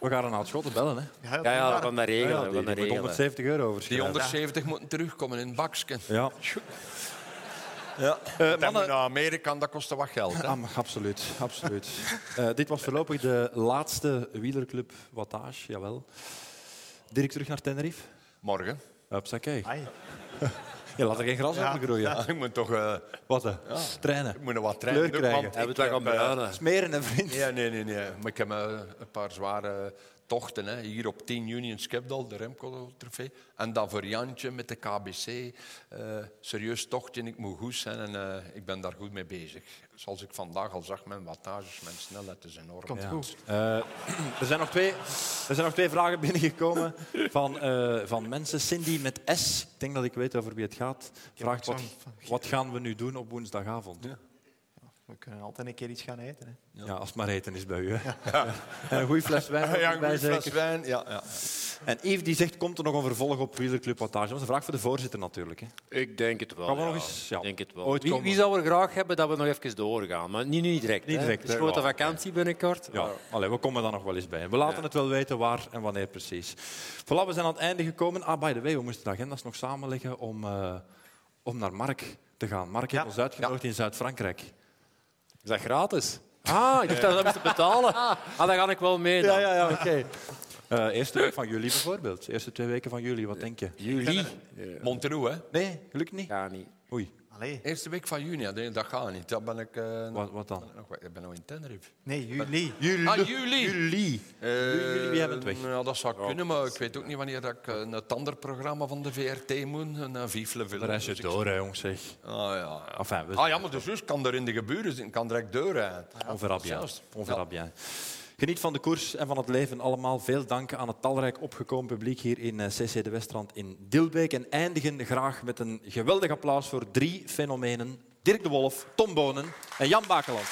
A: We gaan een Schotten bellen, hè?
E: Ja, ja, we gaan dat regelen. we gaan dat
A: die moet
E: regelen.
A: 170 euro
C: Die
A: verschijnen.
C: 170 moeten terugkomen in het baksken.
A: Ja.
C: Dat moet naar Amerika, en dat kostte wat geld. Hè?
A: Ah, maar absoluut, absoluut. Eh, dit was voorlopig de laatste wielerclub wattage, jawel. Dirk terug naar Tenerife.
C: Morgen.
A: Hupsakee.
J: Ai.
A: Je laat er geen gras over groeien.
C: Ik moet toch eh,
A: Wat hè? Trainen.
C: ik moet nog wat
A: Kleur
C: trainen. ook,
A: krijgen.
C: want
E: Hebben
C: ik
E: we het wel
C: heb,
E: gaan
C: eh,
E: bruinen.
A: Smeren en vriend.
C: Nee, nee, nee, nee. Maar ik heb eh, een paar zware tochten. Hè. Hier op 10 juni in Skepdal, de Remco-trofee. En dan voor Jantje met de KBC. Eh, serieus tochtje, ik moet goed zijn en eh, ik ben daar goed mee bezig. Zoals ik vandaag al zag, mijn wattages, mijn snelheid is enorm.
J: Komt goed.
A: Eh, er, zijn nog twee, er zijn nog twee vragen binnengekomen van, eh, van mensen. Cindy met S, ik denk dat ik weet over wie het gaat, vraagt wat, wat gaan we nu doen op woensdagavond.
D: We kunnen altijd een keer iets gaan eten. Hè.
A: Ja, als het maar eten is bij u. hè. En een goede fles wijn.
C: Ja,
A: ook
C: een
A: bij
C: goede fles
A: zeker.
C: wijn. Ja, ja.
A: En Yves die zegt, komt er nog een vervolg op Wielerclub Wattage? Dat is een vraag voor de voorzitter natuurlijk. Hè.
E: Ik denk het wel.
A: Kan wel
E: ja.
A: nog eens, ja.
E: Ik denk het wel.
A: Ooit
E: wie,
A: komen.
E: wie zou er graag hebben dat we nog even doorgaan? Maar niet, nu niet direct.
A: Niet
E: hè.
A: direct,
E: Het is
A: hè.
E: grote
A: Ja.
E: vakantie binnenkort.
A: Ja,
E: Maar-
A: allee, we komen daar nog wel eens bij. We laten
E: Ja.
A: het wel weten waar en wanneer precies. Voilà, we zijn aan het einde gekomen. Ah, by the way, we moesten de agendas nog samenleggen om, eh, om naar Mark te gaan. Mark heeft ons uitgenodigd in Zuid-Frankrijk.
E: Is dat gratis? Ah, ik dacht dat we dat moesten betalen. Ah, dan ga ik wel mee dan.
A: ja, oké. Eh, eerste week van juli bijvoorbeeld. Eerste twee weken van juli, wat denk je?
E: Juli?
C: Montreux, hè?
A: Nee, gelukkig niet.
E: Ja, niet.
A: Oei,
D: Allee.
C: Eerste week van juni, ja, nee, dat gaat niet. Dat ben ik, eh, nog-
A: wat, wat dan?
C: nog- ik ben nog in Tenerife.
D: Nee, juli.
C: Juli. Ah, juli.
A: Juli.
C: Eh,
A: Jullie hebben het weg.
C: nou, dat zou kunnen, maar ik weet ook niet wanneer dat ik eh, een tanderprogramma van de VRT moet. Een eh, Vivle Ville.
A: Dan reis je
C: Dus ik-
A: door, hè, jongens. Zeg.
C: Ah, ja, ja.
A: Enfin, we
C: Ah ja, maar de zus kan er in de geburen zitten, kan direct deur uit.
A: On verra bien.
C: Juist.
A: On verra bien. Geniet van de koers en van het leven allemaal. Veel dank aan het talrijk opgekomen publiek hier in eh, CC de Westrand in Dilbeek. En eindigen graag met een geweldig applaus voor drie fenomenen. Dirk de Wolf, Tom Bonen en Jan Bakeland.